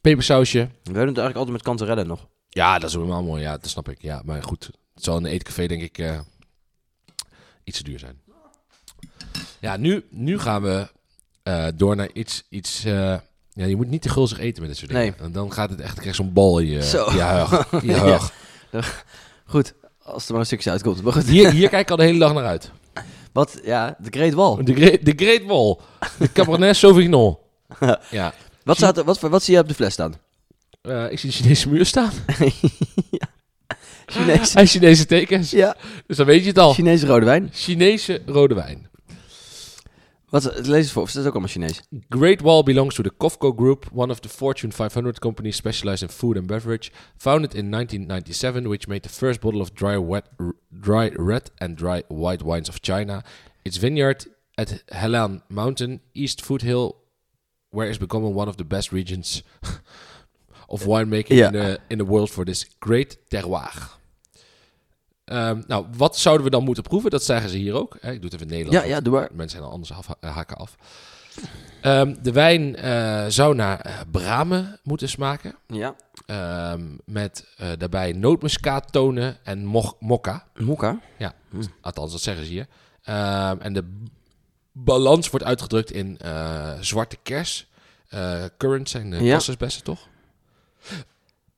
[SPEAKER 1] Pepersausje.
[SPEAKER 2] We doen het eigenlijk altijd met kanterellen nog.
[SPEAKER 1] Ja, dat is helemaal mooi. Ja, dat snap ik. Ja, maar goed. Het zal in een eetcafé, denk ik, eh, iets te duur zijn. Ja, nu, nu gaan we eh, door naar iets... iets eh, ja, je moet niet te gulzig eten met dit soort dingen.
[SPEAKER 2] Nee.
[SPEAKER 1] En dan gaat het echt, krijg je zo'n bal in je,
[SPEAKER 2] Zo.
[SPEAKER 1] je huig. Je
[SPEAKER 2] Ja.
[SPEAKER 1] huig.
[SPEAKER 2] Goed, als er maar een stukje uitkomt. Maar goed,
[SPEAKER 1] Hier, hier kijk ik al de hele dag naar uit.
[SPEAKER 2] wat, ja, de Great Wall.
[SPEAKER 1] De Great, de great Wall. De Cabernet Sauvignon. Ja.
[SPEAKER 2] Wat, staat er, wat, voor- wat zie je op de fles staan?
[SPEAKER 1] Eh, ik zie de Chinese muur staan.
[SPEAKER 2] Chinese,
[SPEAKER 1] En Chinese tekens.
[SPEAKER 2] ja,
[SPEAKER 1] Dus dan weet je het al.
[SPEAKER 2] Chinese rode wijn.
[SPEAKER 1] Chinese rode wijn.
[SPEAKER 2] Wat, lees het voor, of is dat ook allemaal Chinees?
[SPEAKER 1] Great Wall belongs to the Kofco Group, one of the Fortune 500 companies specialized in food and beverage, founded in 1997, which made the first bottle of dry, wet, r- dry red and dry white wines of China. Its vineyard at Helan Mountain, East Foothill, where it's becoming one of the best regions of winemaking
[SPEAKER 2] Ja.
[SPEAKER 1] in, the, in the world for this great terroir. Ehm, nou, wat zouden we dan moeten proeven? Dat zeggen ze hier ook. Hè, ik doe het even in het Nederlands.
[SPEAKER 2] Ja,
[SPEAKER 1] want
[SPEAKER 2] ja, doe maar.
[SPEAKER 1] Mensen zijn al anders af, eh, haken af. Ehm, de wijn eh, zou naar eh, bramen moeten smaken.
[SPEAKER 2] Ja.
[SPEAKER 1] Ehm, met eh, daarbij nootmuskaattonen en mo- mokka.
[SPEAKER 2] Mokka.
[SPEAKER 1] Althans, dat zeggen ze hier. Ehm, en de b- balans wordt uitgedrukt in eh, zwarte kers. Eh, currants zijn de
[SPEAKER 2] Ja.
[SPEAKER 1] kassersbessen, toch?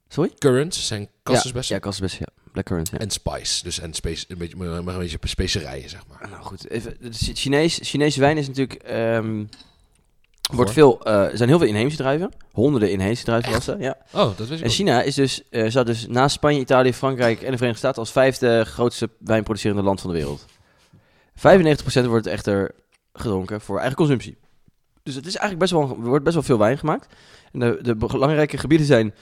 [SPEAKER 2] Sorry?
[SPEAKER 1] Currants zijn kassersbessen.
[SPEAKER 2] Ja, kassenbessen, ja. Black currant, ja.
[SPEAKER 1] En spice. Dus en spe- een, beetje, een beetje specerijen, zeg maar.
[SPEAKER 2] Nou goed, even, de Chi- Chinees, Chinese wijn is natuurlijk... ehm,
[SPEAKER 1] Hoor.
[SPEAKER 2] wordt veel, eh, er zijn heel veel inheemse druiven. Honderden inheemse druivenrassen, ja.
[SPEAKER 1] Oh, dat wist ik
[SPEAKER 2] En
[SPEAKER 1] ook.
[SPEAKER 2] China is dus, eh, staat dus naast Spanje, Italië, Frankrijk en de Verenigde Staten als vijfde grootste wijnproducerende land van de wereld. 95% wordt echter gedronken voor eigen consumptie. Dus het is eigenlijk best wel, er wordt best wel veel wijn gemaakt. En de, de belangrijke gebieden zijn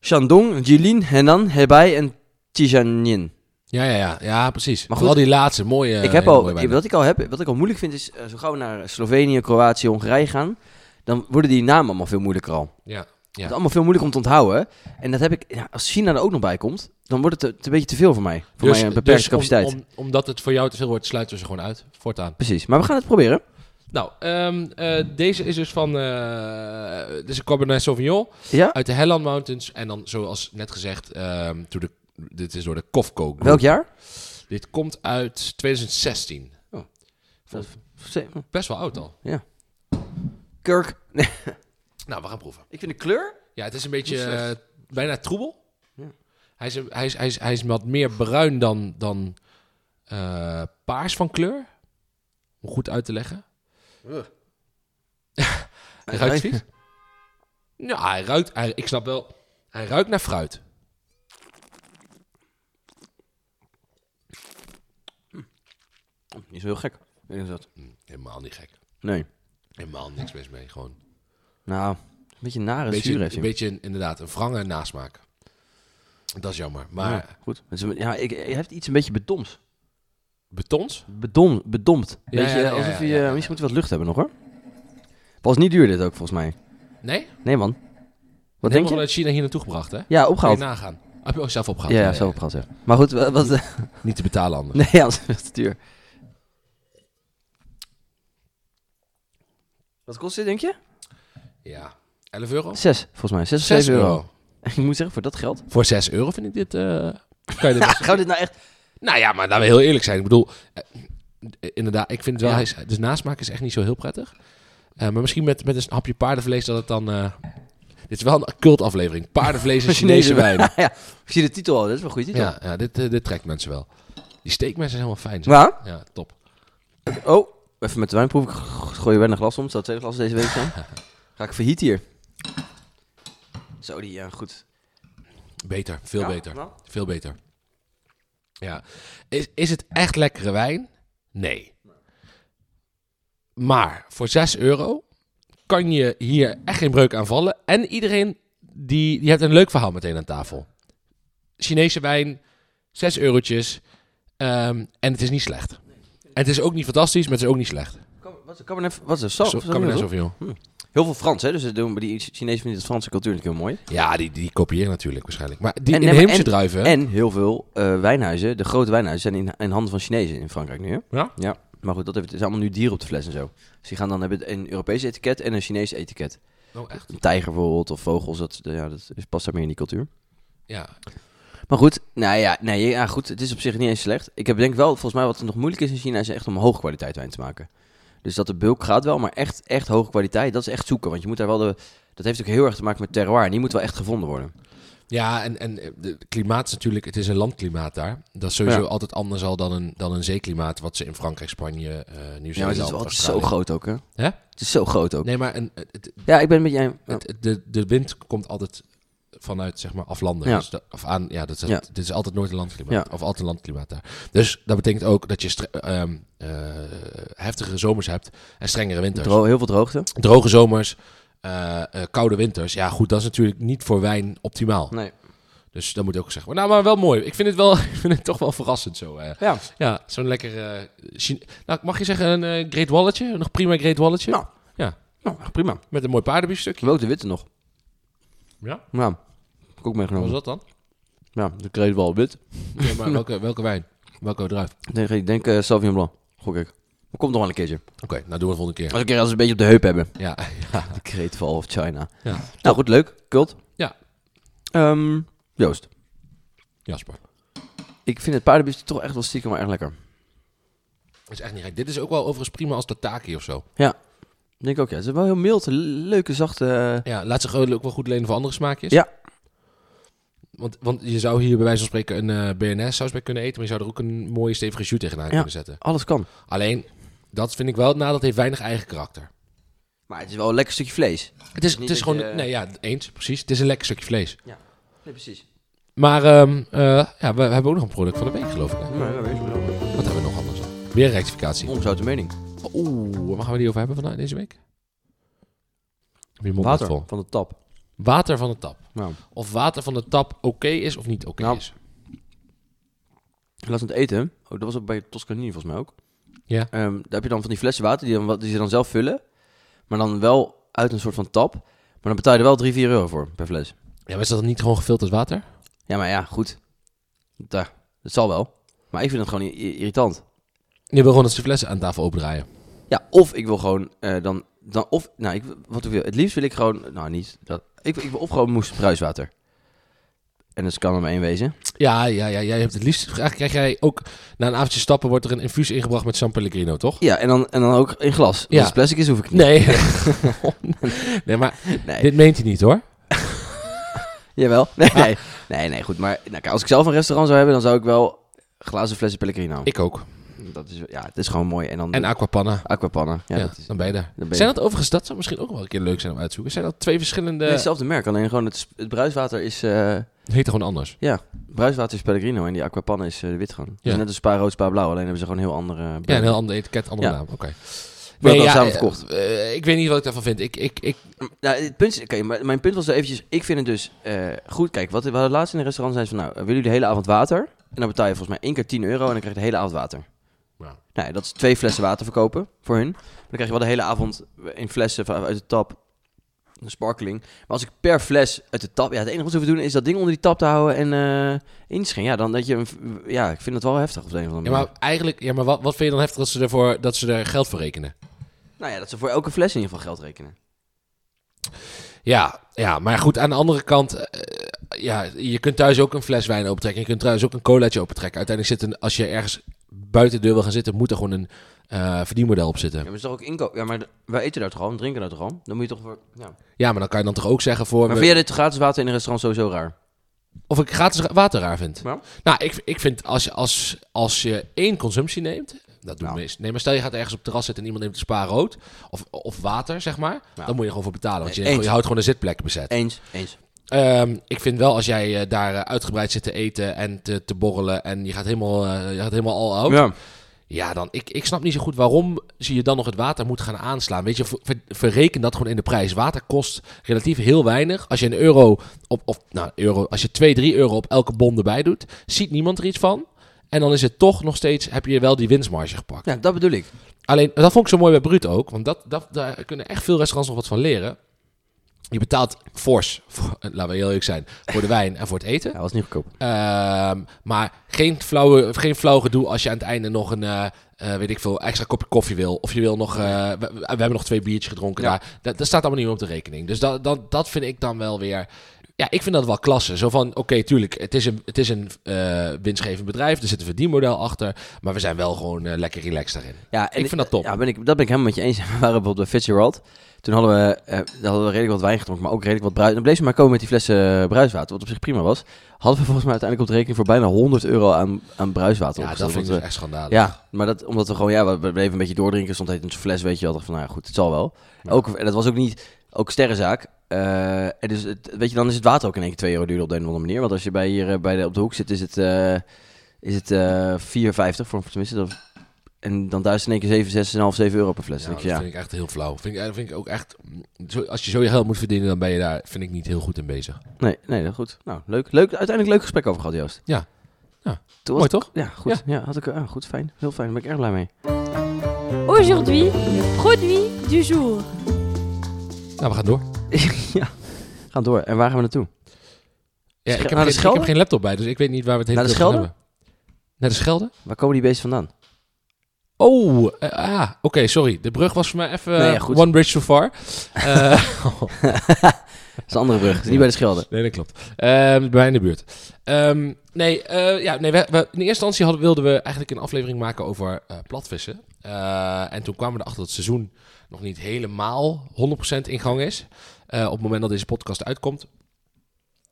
[SPEAKER 2] Shandong, Jilin, Henan, Hebei en Tianjin.
[SPEAKER 1] Ja, ja, ja. ja, precies.
[SPEAKER 2] Maar
[SPEAKER 1] Maar
[SPEAKER 2] goed,
[SPEAKER 1] Vooral die laatste, mooie
[SPEAKER 2] ik heb
[SPEAKER 1] hele mooie
[SPEAKER 2] al,
[SPEAKER 1] wijnen.
[SPEAKER 2] wat ik al heb, wat ik al moeilijk vind is, eh, zo gauw we naar Slovenië, Kroatië, Hongarije gaan, dan worden die namen allemaal veel moeilijker al.
[SPEAKER 1] Ja.
[SPEAKER 2] Het is allemaal veel moeilijk om te onthouden. En dat heb ik, ja, als China er ook nog bij komt, dan wordt het te- te- een beetje te veel voor mij. Voor mijn eh, beperkte
[SPEAKER 1] dus om-
[SPEAKER 2] capaciteit.
[SPEAKER 1] om- omdat het voor jou te veel wordt, sluiten we ze gewoon uit. Voortaan.
[SPEAKER 2] Precies, maar we gaan het proberen.
[SPEAKER 1] Nou, ehm, eh, deze is dus van... eh dit is een Cabernet Sauvignon
[SPEAKER 2] Ja?
[SPEAKER 1] uit de Helland Mountains. En dan, zoals net gezegd, ehm, door de, dit is door de Kofco Group.
[SPEAKER 2] Welk jaar?
[SPEAKER 1] Dit komt uit 2016.
[SPEAKER 2] Oh.
[SPEAKER 1] Vond- Best wel oud al.
[SPEAKER 2] Kirk. Nee,
[SPEAKER 1] Nou, we gaan proeven.
[SPEAKER 2] ik vind de kleur.
[SPEAKER 1] Ja, het is een beetje
[SPEAKER 2] Niet slecht.
[SPEAKER 1] eh, bijna troebel.
[SPEAKER 2] Ja.
[SPEAKER 1] Hij, is, een- hij, is, hij, is, hij is wat meer bruin dan, dan eh, paars van kleur. Om goed uit te leggen. Hij ruikt
[SPEAKER 2] Hij-
[SPEAKER 1] vies. Ja, hij ruikt... Hij, ik snap wel... Hij ruikt naar fruit.
[SPEAKER 2] Niet zo heel gek. Ik denk dat.
[SPEAKER 1] Hm, helemaal niet gek.
[SPEAKER 2] Nee.
[SPEAKER 1] Helemaal niks mis mee. Gewoon
[SPEAKER 2] Nou, een beetje nare
[SPEAKER 1] een beetje,
[SPEAKER 2] zuur heeft
[SPEAKER 1] een
[SPEAKER 2] hij.
[SPEAKER 1] beetje inderdaad een wrange nasmaak. Dat is jammer. Maar
[SPEAKER 2] Ja, goed. Het is- Ja, ik, je hebt iets een beetje bedoms.
[SPEAKER 1] betons?
[SPEAKER 2] Bedom, bedompt.
[SPEAKER 1] Ja,
[SPEAKER 2] beetje,
[SPEAKER 1] ja, ja,
[SPEAKER 2] alsof
[SPEAKER 1] ja,
[SPEAKER 2] je,
[SPEAKER 1] ja, ja.
[SPEAKER 2] misschien moet je wat lucht hebben nog hoor. Was niet duur dit ook volgens mij.
[SPEAKER 1] Nee?
[SPEAKER 2] Nee man. Wat
[SPEAKER 1] Helemaal
[SPEAKER 2] denk je?
[SPEAKER 1] uit China hier naartoe gebracht, hè?
[SPEAKER 2] Ja,
[SPEAKER 1] Ga je
[SPEAKER 2] opgehaald.
[SPEAKER 1] nagaan. Heb je ook zelf opgehaald?
[SPEAKER 2] Ja, ja, zelf opgehaald, ja. Maar goed, wa- wat...
[SPEAKER 1] nou, Niet te betalen anders.
[SPEAKER 2] Nee, ja, dat is echt te duur. Wat kost dit, denk je?
[SPEAKER 1] Ja. 11 euro?
[SPEAKER 2] Zes, volgens mij. Zes of zeven euro. Ik moet zeggen, voor dat geld.
[SPEAKER 1] Voor 6 euro vind ik dit... eh, kan je dit
[SPEAKER 2] Gaan we dit nou echt...
[SPEAKER 1] nou ja, maar laten we heel eerlijk zijn. Ik bedoel, eh, eh, inderdaad, ik vind het wel...
[SPEAKER 2] Ja.
[SPEAKER 1] Hij is, dus nasmaak is echt niet zo heel prettig. Eh, maar misschien met, met een hapje paardenvlees dat het dan... eh, dit is wel een cultaflevering. Paardenvlees en Chinese wijn.
[SPEAKER 2] ja, ik zie de titel al. Dat is wel een goede titel.
[SPEAKER 1] Ja, ja dit, eh, dit trekt mensen wel. Die steekmensen zijn helemaal fijn. zeg.
[SPEAKER 2] Maar,
[SPEAKER 1] Ja, top.
[SPEAKER 2] oh, even met de wijn proeven. Ik g- gooi je wijn een glas om. Het zou het tweede glas deze week zijn. Ga ik verhiet hier. Zo, die, ja, goed.
[SPEAKER 1] Beter, veel
[SPEAKER 2] Ja,
[SPEAKER 1] beter.
[SPEAKER 2] nou.
[SPEAKER 1] Veel beter. Ja. Is, is het echt lekkere wijn? Nee. Maar voor 6 euro kan je hier echt geen breuk aan vallen. En iedereen die, die heeft een leuk verhaal meteen aan tafel. Chinese wijn, 6 eurotjes. ehm, en het is niet slecht. En het is ook niet fantastisch, maar het is ook niet slecht.
[SPEAKER 2] Kam- Wat is Cabernet... Wat is dat?
[SPEAKER 1] Zo-
[SPEAKER 2] Sauvignon,
[SPEAKER 1] Cabernet
[SPEAKER 2] toch?
[SPEAKER 1] Sauvignon.
[SPEAKER 2] Heel veel Frans, hè? Dus ze doen- die Chinezen vinden de Franse cultuur natuurlijk heel mooi.
[SPEAKER 1] Ja, die, die kopiëren natuurlijk waarschijnlijk. Maar die
[SPEAKER 2] En- nee, maar-
[SPEAKER 1] inheemse
[SPEAKER 2] en-
[SPEAKER 1] druiven...
[SPEAKER 2] En heel veel eh, wijnhuizen, de grote wijnhuizen, zijn in, in handen van Chinezen in Frankrijk nu. Hè?
[SPEAKER 1] Ja?
[SPEAKER 2] Ja. Maar goed, dat heeft, het is allemaal nu dieren op de fles en zo. Dus die gaan dan hebben een Europees etiket en een Chinees etiket.
[SPEAKER 1] Oh, echt?
[SPEAKER 2] Een tijger bijvoorbeeld of vogels, dat, ja, dat is- past daar meer in die cultuur.
[SPEAKER 1] Ja,
[SPEAKER 2] Maar goed, nou ja, nee, ja, goed, het is op zich niet eens slecht. Ik heb denk wel, volgens mij wat het nog moeilijk is in China, is echt om hoge kwaliteit wijn te maken. Dus dat de bulk gaat wel, maar echt, echt hoge kwaliteit, dat is echt zoeken. Want je moet daar wel de, dat heeft ook heel erg te maken met terroir. En die moet wel echt gevonden worden.
[SPEAKER 1] Ja, en, en eh, de- het klimaat is natuurlijk, het is een landklimaat daar. Dat is sowieso
[SPEAKER 2] Ja.
[SPEAKER 1] altijd anders al dan een, dan een zeeklimaat, wat ze in Frankrijk, Spanje, eh Nieuw-Zeeland,
[SPEAKER 2] Ja, maar het is wel het is zo
[SPEAKER 1] Australië-
[SPEAKER 2] groot ook, hè?
[SPEAKER 1] Hè?
[SPEAKER 2] Het is zo groot ook.
[SPEAKER 1] Nee, maar een, het,
[SPEAKER 2] Ja, ik ben met jij.
[SPEAKER 1] het- de, de wind komt altijd vanuit zeg maar aflanden.
[SPEAKER 2] Ja.
[SPEAKER 1] Dus dat, of aan, ja, dat is,
[SPEAKER 2] Ja.
[SPEAKER 1] dit is altijd nooit een landklimaat.
[SPEAKER 2] Ja.
[SPEAKER 1] Of altijd een landklimaat daar. Dus dat betekent ook dat je stre- ehm, eh, heftigere zomers hebt en strengere winters.
[SPEAKER 2] Dro- heel veel droogte.
[SPEAKER 1] Droge zomers, eh, eh, koude winters. Ja, goed, dat is natuurlijk niet voor wijn optimaal.
[SPEAKER 2] Nee.
[SPEAKER 1] Dus dat moet ook gezegd worden. Nou, maar wel mooi. Ik vind het, wel, ik vind het toch wel verrassend zo. eh.
[SPEAKER 2] Ja.
[SPEAKER 1] Ja, zo'n lekker... eh, Chine- nou, mag je zeggen een eh, Great Walletje? Nog prima Great Walletje?
[SPEAKER 2] Nou. Nou, prima. Ik
[SPEAKER 1] Met een mooi paardenbiefstukje.
[SPEAKER 2] heb ook de witte nog.
[SPEAKER 1] Ja?
[SPEAKER 2] Ja. Heb ik
[SPEAKER 1] Wat
[SPEAKER 2] ook
[SPEAKER 1] was
[SPEAKER 2] meegenomen.
[SPEAKER 1] dat dan?
[SPEAKER 2] Ja, de kreeg wel wit.
[SPEAKER 1] Ja, maar welke, welke wijn? Welke druif?
[SPEAKER 2] Ik denk, ik denk eh, Sauvignon Blanc. Gok ik. Maar komt nog wel een keertje.
[SPEAKER 1] Oké, nou doen we volgende keer.
[SPEAKER 2] Als een keer als we een beetje op de heup hebben.
[SPEAKER 1] Ja,
[SPEAKER 2] De Kreetval of China.
[SPEAKER 1] Ja.
[SPEAKER 2] Nou goed, leuk. Kult.
[SPEAKER 1] Ja.
[SPEAKER 2] Ehm, Joost.
[SPEAKER 1] Jasper.
[SPEAKER 2] Ik vind het paardenbiefstuk toch echt wel stiekem maar erg lekker.
[SPEAKER 1] Dat is echt niet gek. Dit is ook wel overigens prima als tataki of zo.
[SPEAKER 2] Ik denk ook, ja. Het is wel heel mild. le- Leuke, zachte... eh,
[SPEAKER 1] Ja, laat zich gewoon ook wel goed lenen voor andere smaakjes.
[SPEAKER 2] Ja.
[SPEAKER 1] Want, want je zou hier bij wijze van spreken een eh, BNS-saus bij kunnen eten, maar je zou er ook een mooie stevige jus tegenaan kunnen zetten.
[SPEAKER 2] Alles kan.
[SPEAKER 1] Alleen, dat vind ik wel, het nadeel het heeft weinig eigen karakter.
[SPEAKER 2] Maar het is wel een lekker stukje vlees.
[SPEAKER 1] Het is,
[SPEAKER 2] Niet
[SPEAKER 1] het is
[SPEAKER 2] dat
[SPEAKER 1] gewoon,
[SPEAKER 2] je-
[SPEAKER 1] nee ja, eens, precies. Het is een lekker stukje vlees.
[SPEAKER 2] Nee, precies.
[SPEAKER 1] Maar ehm, eh, ja, we, we hebben ook nog een product van de week, geloof ik. hè?
[SPEAKER 2] Maar ja, weer
[SPEAKER 1] Wat hebben we nog anders dan? Weer een rectificatie. Oh,
[SPEAKER 2] Ongezouten mening.
[SPEAKER 1] Oeh, waar gaan we die over hebben vandaag deze week? Heb je mond net
[SPEAKER 2] Water
[SPEAKER 1] vol?
[SPEAKER 2] van de tap.
[SPEAKER 1] Water van de tap.
[SPEAKER 2] Nou,
[SPEAKER 1] Of water van de tap oké is of niet oké
[SPEAKER 2] Nou.
[SPEAKER 1] is.
[SPEAKER 2] laatst aan het eten. Oh, dat was ook bij Toscanini volgens mij ook.
[SPEAKER 1] Ja.
[SPEAKER 2] Ehm, daar heb je dan van die flessen water die, dan, wat- die ze dan zelf vullen. Maar dan wel uit een soort van tap. Maar dan betaal je er wel 3, 4 euro voor per fles.
[SPEAKER 1] Ja, maar is dat dan niet gewoon gefilterd water?
[SPEAKER 2] Ja, maar ja, goed. Daar, dat zal wel. Maar ik vind het gewoon i- i- irritant.
[SPEAKER 1] Je wil gewoon dat ze flessen aan tafel opendraaien.
[SPEAKER 2] Ja, of ik wil gewoon eh, dan, dan of nou ik wat ik wil. Het liefst wil ik gewoon nou niet dat ik, ik wil of gewoon moest bruiswater. En dat kan er maar één wezen.
[SPEAKER 1] Ja, ja, ja, jij hebt het liefst. Eigenlijk krijg jij ook na een avondje stappen wordt er een infuus ingebracht met San Pellegrino, toch?
[SPEAKER 2] Ja, en dan en dan ook in glas. Want
[SPEAKER 1] Ja.
[SPEAKER 2] Als het plastic is hoef ik het niet.
[SPEAKER 1] Nee. nee, maar
[SPEAKER 2] Nee.
[SPEAKER 1] dit meent hij niet hoor.
[SPEAKER 2] Jawel. Nee, nee.
[SPEAKER 1] Ah.
[SPEAKER 2] Nee, nee, goed, maar nou, kijk, als ik zelf een restaurant zou hebben, dan zou ik wel glazen flessen Pellegrino.
[SPEAKER 1] Ik ook.
[SPEAKER 2] Dat is ja, het is gewoon mooi en dan
[SPEAKER 1] En aquapanna.
[SPEAKER 2] aquapannen. Ja,
[SPEAKER 1] Ja,
[SPEAKER 2] dat is
[SPEAKER 1] dan ben je daar.
[SPEAKER 2] ben je
[SPEAKER 1] Zijn dat overigens, dat zou misschien ook wel een keer leuk zijn om uit te zoeken. Zijn dat twee verschillende...
[SPEAKER 2] Nee, hetzelfde merk, alleen gewoon het, het bruiswater is eh,
[SPEAKER 1] Het heet gewoon anders.
[SPEAKER 2] bruiswater is Pellegrino en die aquapannen is eh, de witgaan. Dus
[SPEAKER 1] Ja.
[SPEAKER 2] net als spa rood, spa blauw, alleen hebben ze gewoon een heel andere eh,
[SPEAKER 1] Ja, een
[SPEAKER 2] brand.
[SPEAKER 1] heel ander etiket, andere
[SPEAKER 2] Ja.
[SPEAKER 1] naam. Oké.
[SPEAKER 2] Wordt wel
[SPEAKER 1] ja,
[SPEAKER 2] samen
[SPEAKER 1] eh,
[SPEAKER 2] verkocht.
[SPEAKER 1] eh, ik weet niet wat ik daarvan vind. Ik, ik, ik,
[SPEAKER 2] Nou, het punt is, oké, maar mijn punt was zo eventjes, ik vind het dus eh, goed. Kijk, wat we hadden laatst in een restaurant zijn ze van, nou, willen jullie de hele avond water? En dan betaal je volgens mij één keer 10 euro en dan krijg je de hele avond water.
[SPEAKER 1] Ja.
[SPEAKER 2] Nou, ja, dat is twee flessen water verkopen voor hun. Maar dan krijg je wel de hele avond in flessen van- uit de tap, een sparkling. Maar als ik per fles uit de tap, ja, het enige wat ze hoeven doen is dat ding onder die tap te houden en eh inschenken. Ja, dan dat je, een v- ja, ik vind dat wel heftig op de een of andere
[SPEAKER 1] ja,
[SPEAKER 2] manier.
[SPEAKER 1] maar eigenlijk, ja, maar wat, wat vind je dan heftig dat ze, ervoor, dat ze er geld voor rekenen?
[SPEAKER 2] Nou ja, dat ze voor elke fles in ieder geval geld rekenen.
[SPEAKER 1] Ja, ja, maar goed, aan de andere kant, eh, ja, je kunt thuis ook een fles wijn opentrekken. Je kunt thuis ook een colaatje opentrekken. Uiteindelijk zit een, als je ergens buiten de deur wil gaan zitten, moet er gewoon een eh, verdienmodel op
[SPEAKER 2] Ja,
[SPEAKER 1] zitten.
[SPEAKER 2] maar het is toch ook inkoop? Ja, maar d- wij eten daar toch gewoon, drinken daar toch gewoon? Dan moet je toch voor, ja.
[SPEAKER 1] Ja, maar dan kan je dan toch ook zeggen voor...
[SPEAKER 2] Maar
[SPEAKER 1] we-
[SPEAKER 2] vind jij dit gratis water in een restaurant sowieso raar?
[SPEAKER 1] Of ik gratis water raar vind.
[SPEAKER 2] Ja.
[SPEAKER 1] Nou, ik, ik vind als je, als, als je één consumptie neemt, dat doen
[SPEAKER 2] Ja.
[SPEAKER 1] we meest. Nee, maar stel je gaat ergens op het terras zitten en iemand neemt een spa rood of, of water, zeg maar.
[SPEAKER 2] Ja.
[SPEAKER 1] Dan moet je gewoon voor betalen, want je,
[SPEAKER 2] Eens.
[SPEAKER 1] je houdt gewoon een zitplek bezet.
[SPEAKER 2] Eens, eens.
[SPEAKER 1] Ehm, ik vind wel als jij eh, daar eh, uitgebreid zit te eten en te, te borrelen en je gaat helemaal, eh, je gaat helemaal al out. Ja.
[SPEAKER 2] Ja.
[SPEAKER 1] dan ik, ik snap niet zo goed waarom zie je dan nog het water moet gaan aanslaan. Weet je, ver- ver- verreken dat gewoon in de prijs. Water kost relatief heel weinig. Als je een euro op, of nou, euro, als je 2, 3 euro op elke bon erbij doet, ziet niemand er iets van. En dan is het toch nog steeds, heb je wel die winstmarge gepakt.
[SPEAKER 2] ja, dat bedoel ik.
[SPEAKER 1] Alleen, dat vond ik zo mooi bij Brut ook. Want dat, dat, daar kunnen echt veel restaurants nog wat van leren. Je betaalt fors, voor, eh, laten we heel eerlijk zijn, voor de wijn en voor het eten.
[SPEAKER 2] Ja, was niet goedkoop.
[SPEAKER 1] Ehm, maar geen, flauwe, geen flauw gedoe als je aan het einde nog een, eh, eh, weet ik veel, extra kopje koffie wil. Of je wil nog, eh, we, we- we hebben nog twee biertjes gedronken
[SPEAKER 2] Ja.
[SPEAKER 1] daar. Dat, dat staat allemaal niet meer op de rekening. Dus dat, dat, dat vind ik dan wel weer... Ja, ik vind dat wel klasse. Zo van, oké, tuurlijk, het is een, het is een eh, winstgevend bedrijf. Er zit een verdienmodel achter. Maar we zijn wel gewoon eh, lekker relaxed daarin.
[SPEAKER 2] Ja,
[SPEAKER 1] ik vind dat top.
[SPEAKER 2] Ja, ben ik, dat ben ik helemaal met je eens. We waren bijvoorbeeld bij Fitzgerald. Toen hadden we, eh, daar hadden we redelijk wat wijn gedronken, maar ook redelijk wat bruis. Dan bleef ze maar komen met die flessen eh, bruiswater, wat op zich prima was. Hadden we volgens mij uiteindelijk op de rekening voor bijna 100 euro aan, aan bruiswater
[SPEAKER 1] Ja, dat vind
[SPEAKER 2] opgesteld.
[SPEAKER 1] ik
[SPEAKER 2] Want
[SPEAKER 1] dus
[SPEAKER 2] we-
[SPEAKER 1] echt schandalig.
[SPEAKER 2] ja, maar dat, omdat we gewoon, ja, we- we bleven een beetje doordrinken. Stond het in zo'n fles, weet je wel. Dacht van, nou ja, goed, het zal wel. Ook, en dat was ook niet, ook sterrenzaak. Eh, en dus het, weet je, dan is het water ook in één keer 2 euro duurder op de een of andere manier. Want als je bij hier eh, bij de, op de hoek zit, is het, eh, is het eh 4,50 voor tenminste. Dat, en dan duist in één keer 7, 6,5, 7 euro per fles.
[SPEAKER 1] Ja,
[SPEAKER 2] Ja,
[SPEAKER 1] dat
[SPEAKER 2] ik, ja.
[SPEAKER 1] vind ik echt heel flauw. Vind ik, eh, vind ik ook echt, mm, zo- als je zo je geld moet verdienen, dan ben je daar, vind ik niet heel goed in bezig.
[SPEAKER 2] Nee, nee, dat goed. Nou, leuk, leuk. Uiteindelijk leuk gesprek over gehad, Joost.
[SPEAKER 1] Ja. Ja.
[SPEAKER 2] Toen
[SPEAKER 1] Mooi
[SPEAKER 2] was
[SPEAKER 1] toch?
[SPEAKER 2] ik- ja, goed. Ja, had ik, ah, goed, fijn. Heel fijn. Daar ben ik erg blij mee.
[SPEAKER 3] Aujourd'hui, le produit du jour.
[SPEAKER 1] Nou, we gaan door.
[SPEAKER 2] ja. Gaan door. En waar gaan we naartoe?
[SPEAKER 1] Ja,
[SPEAKER 2] Sche-
[SPEAKER 1] ik, heb
[SPEAKER 2] naar de
[SPEAKER 1] geen, ik heb
[SPEAKER 2] Schelde?
[SPEAKER 1] geen laptop bij, dus ik weet niet waar we het hele
[SPEAKER 2] Naar de
[SPEAKER 1] tijd over
[SPEAKER 2] Schelde?
[SPEAKER 1] gaan hebben. Naar de Schelde?
[SPEAKER 2] Waar komen die beesten vandaan?
[SPEAKER 1] Oh, eh, ah, oké, sorry. De brug was voor mij even
[SPEAKER 2] Nee, ja, goed.
[SPEAKER 1] one bridge too far. Eh,
[SPEAKER 2] Dat is een andere brug. Het is
[SPEAKER 1] Ja.
[SPEAKER 2] niet bij de Schelde.
[SPEAKER 1] nee, dat klopt. Ehm, bij mij in de buurt. Ehm, nee, eh, ja, nee we, we- in eerste instantie hadden, wilden we eigenlijk een aflevering maken over eh, platvissen. Eh, en toen kwamen we erachter dat het seizoen nog niet helemaal 100% in gang is. Eh, op het moment dat deze podcast uitkomt.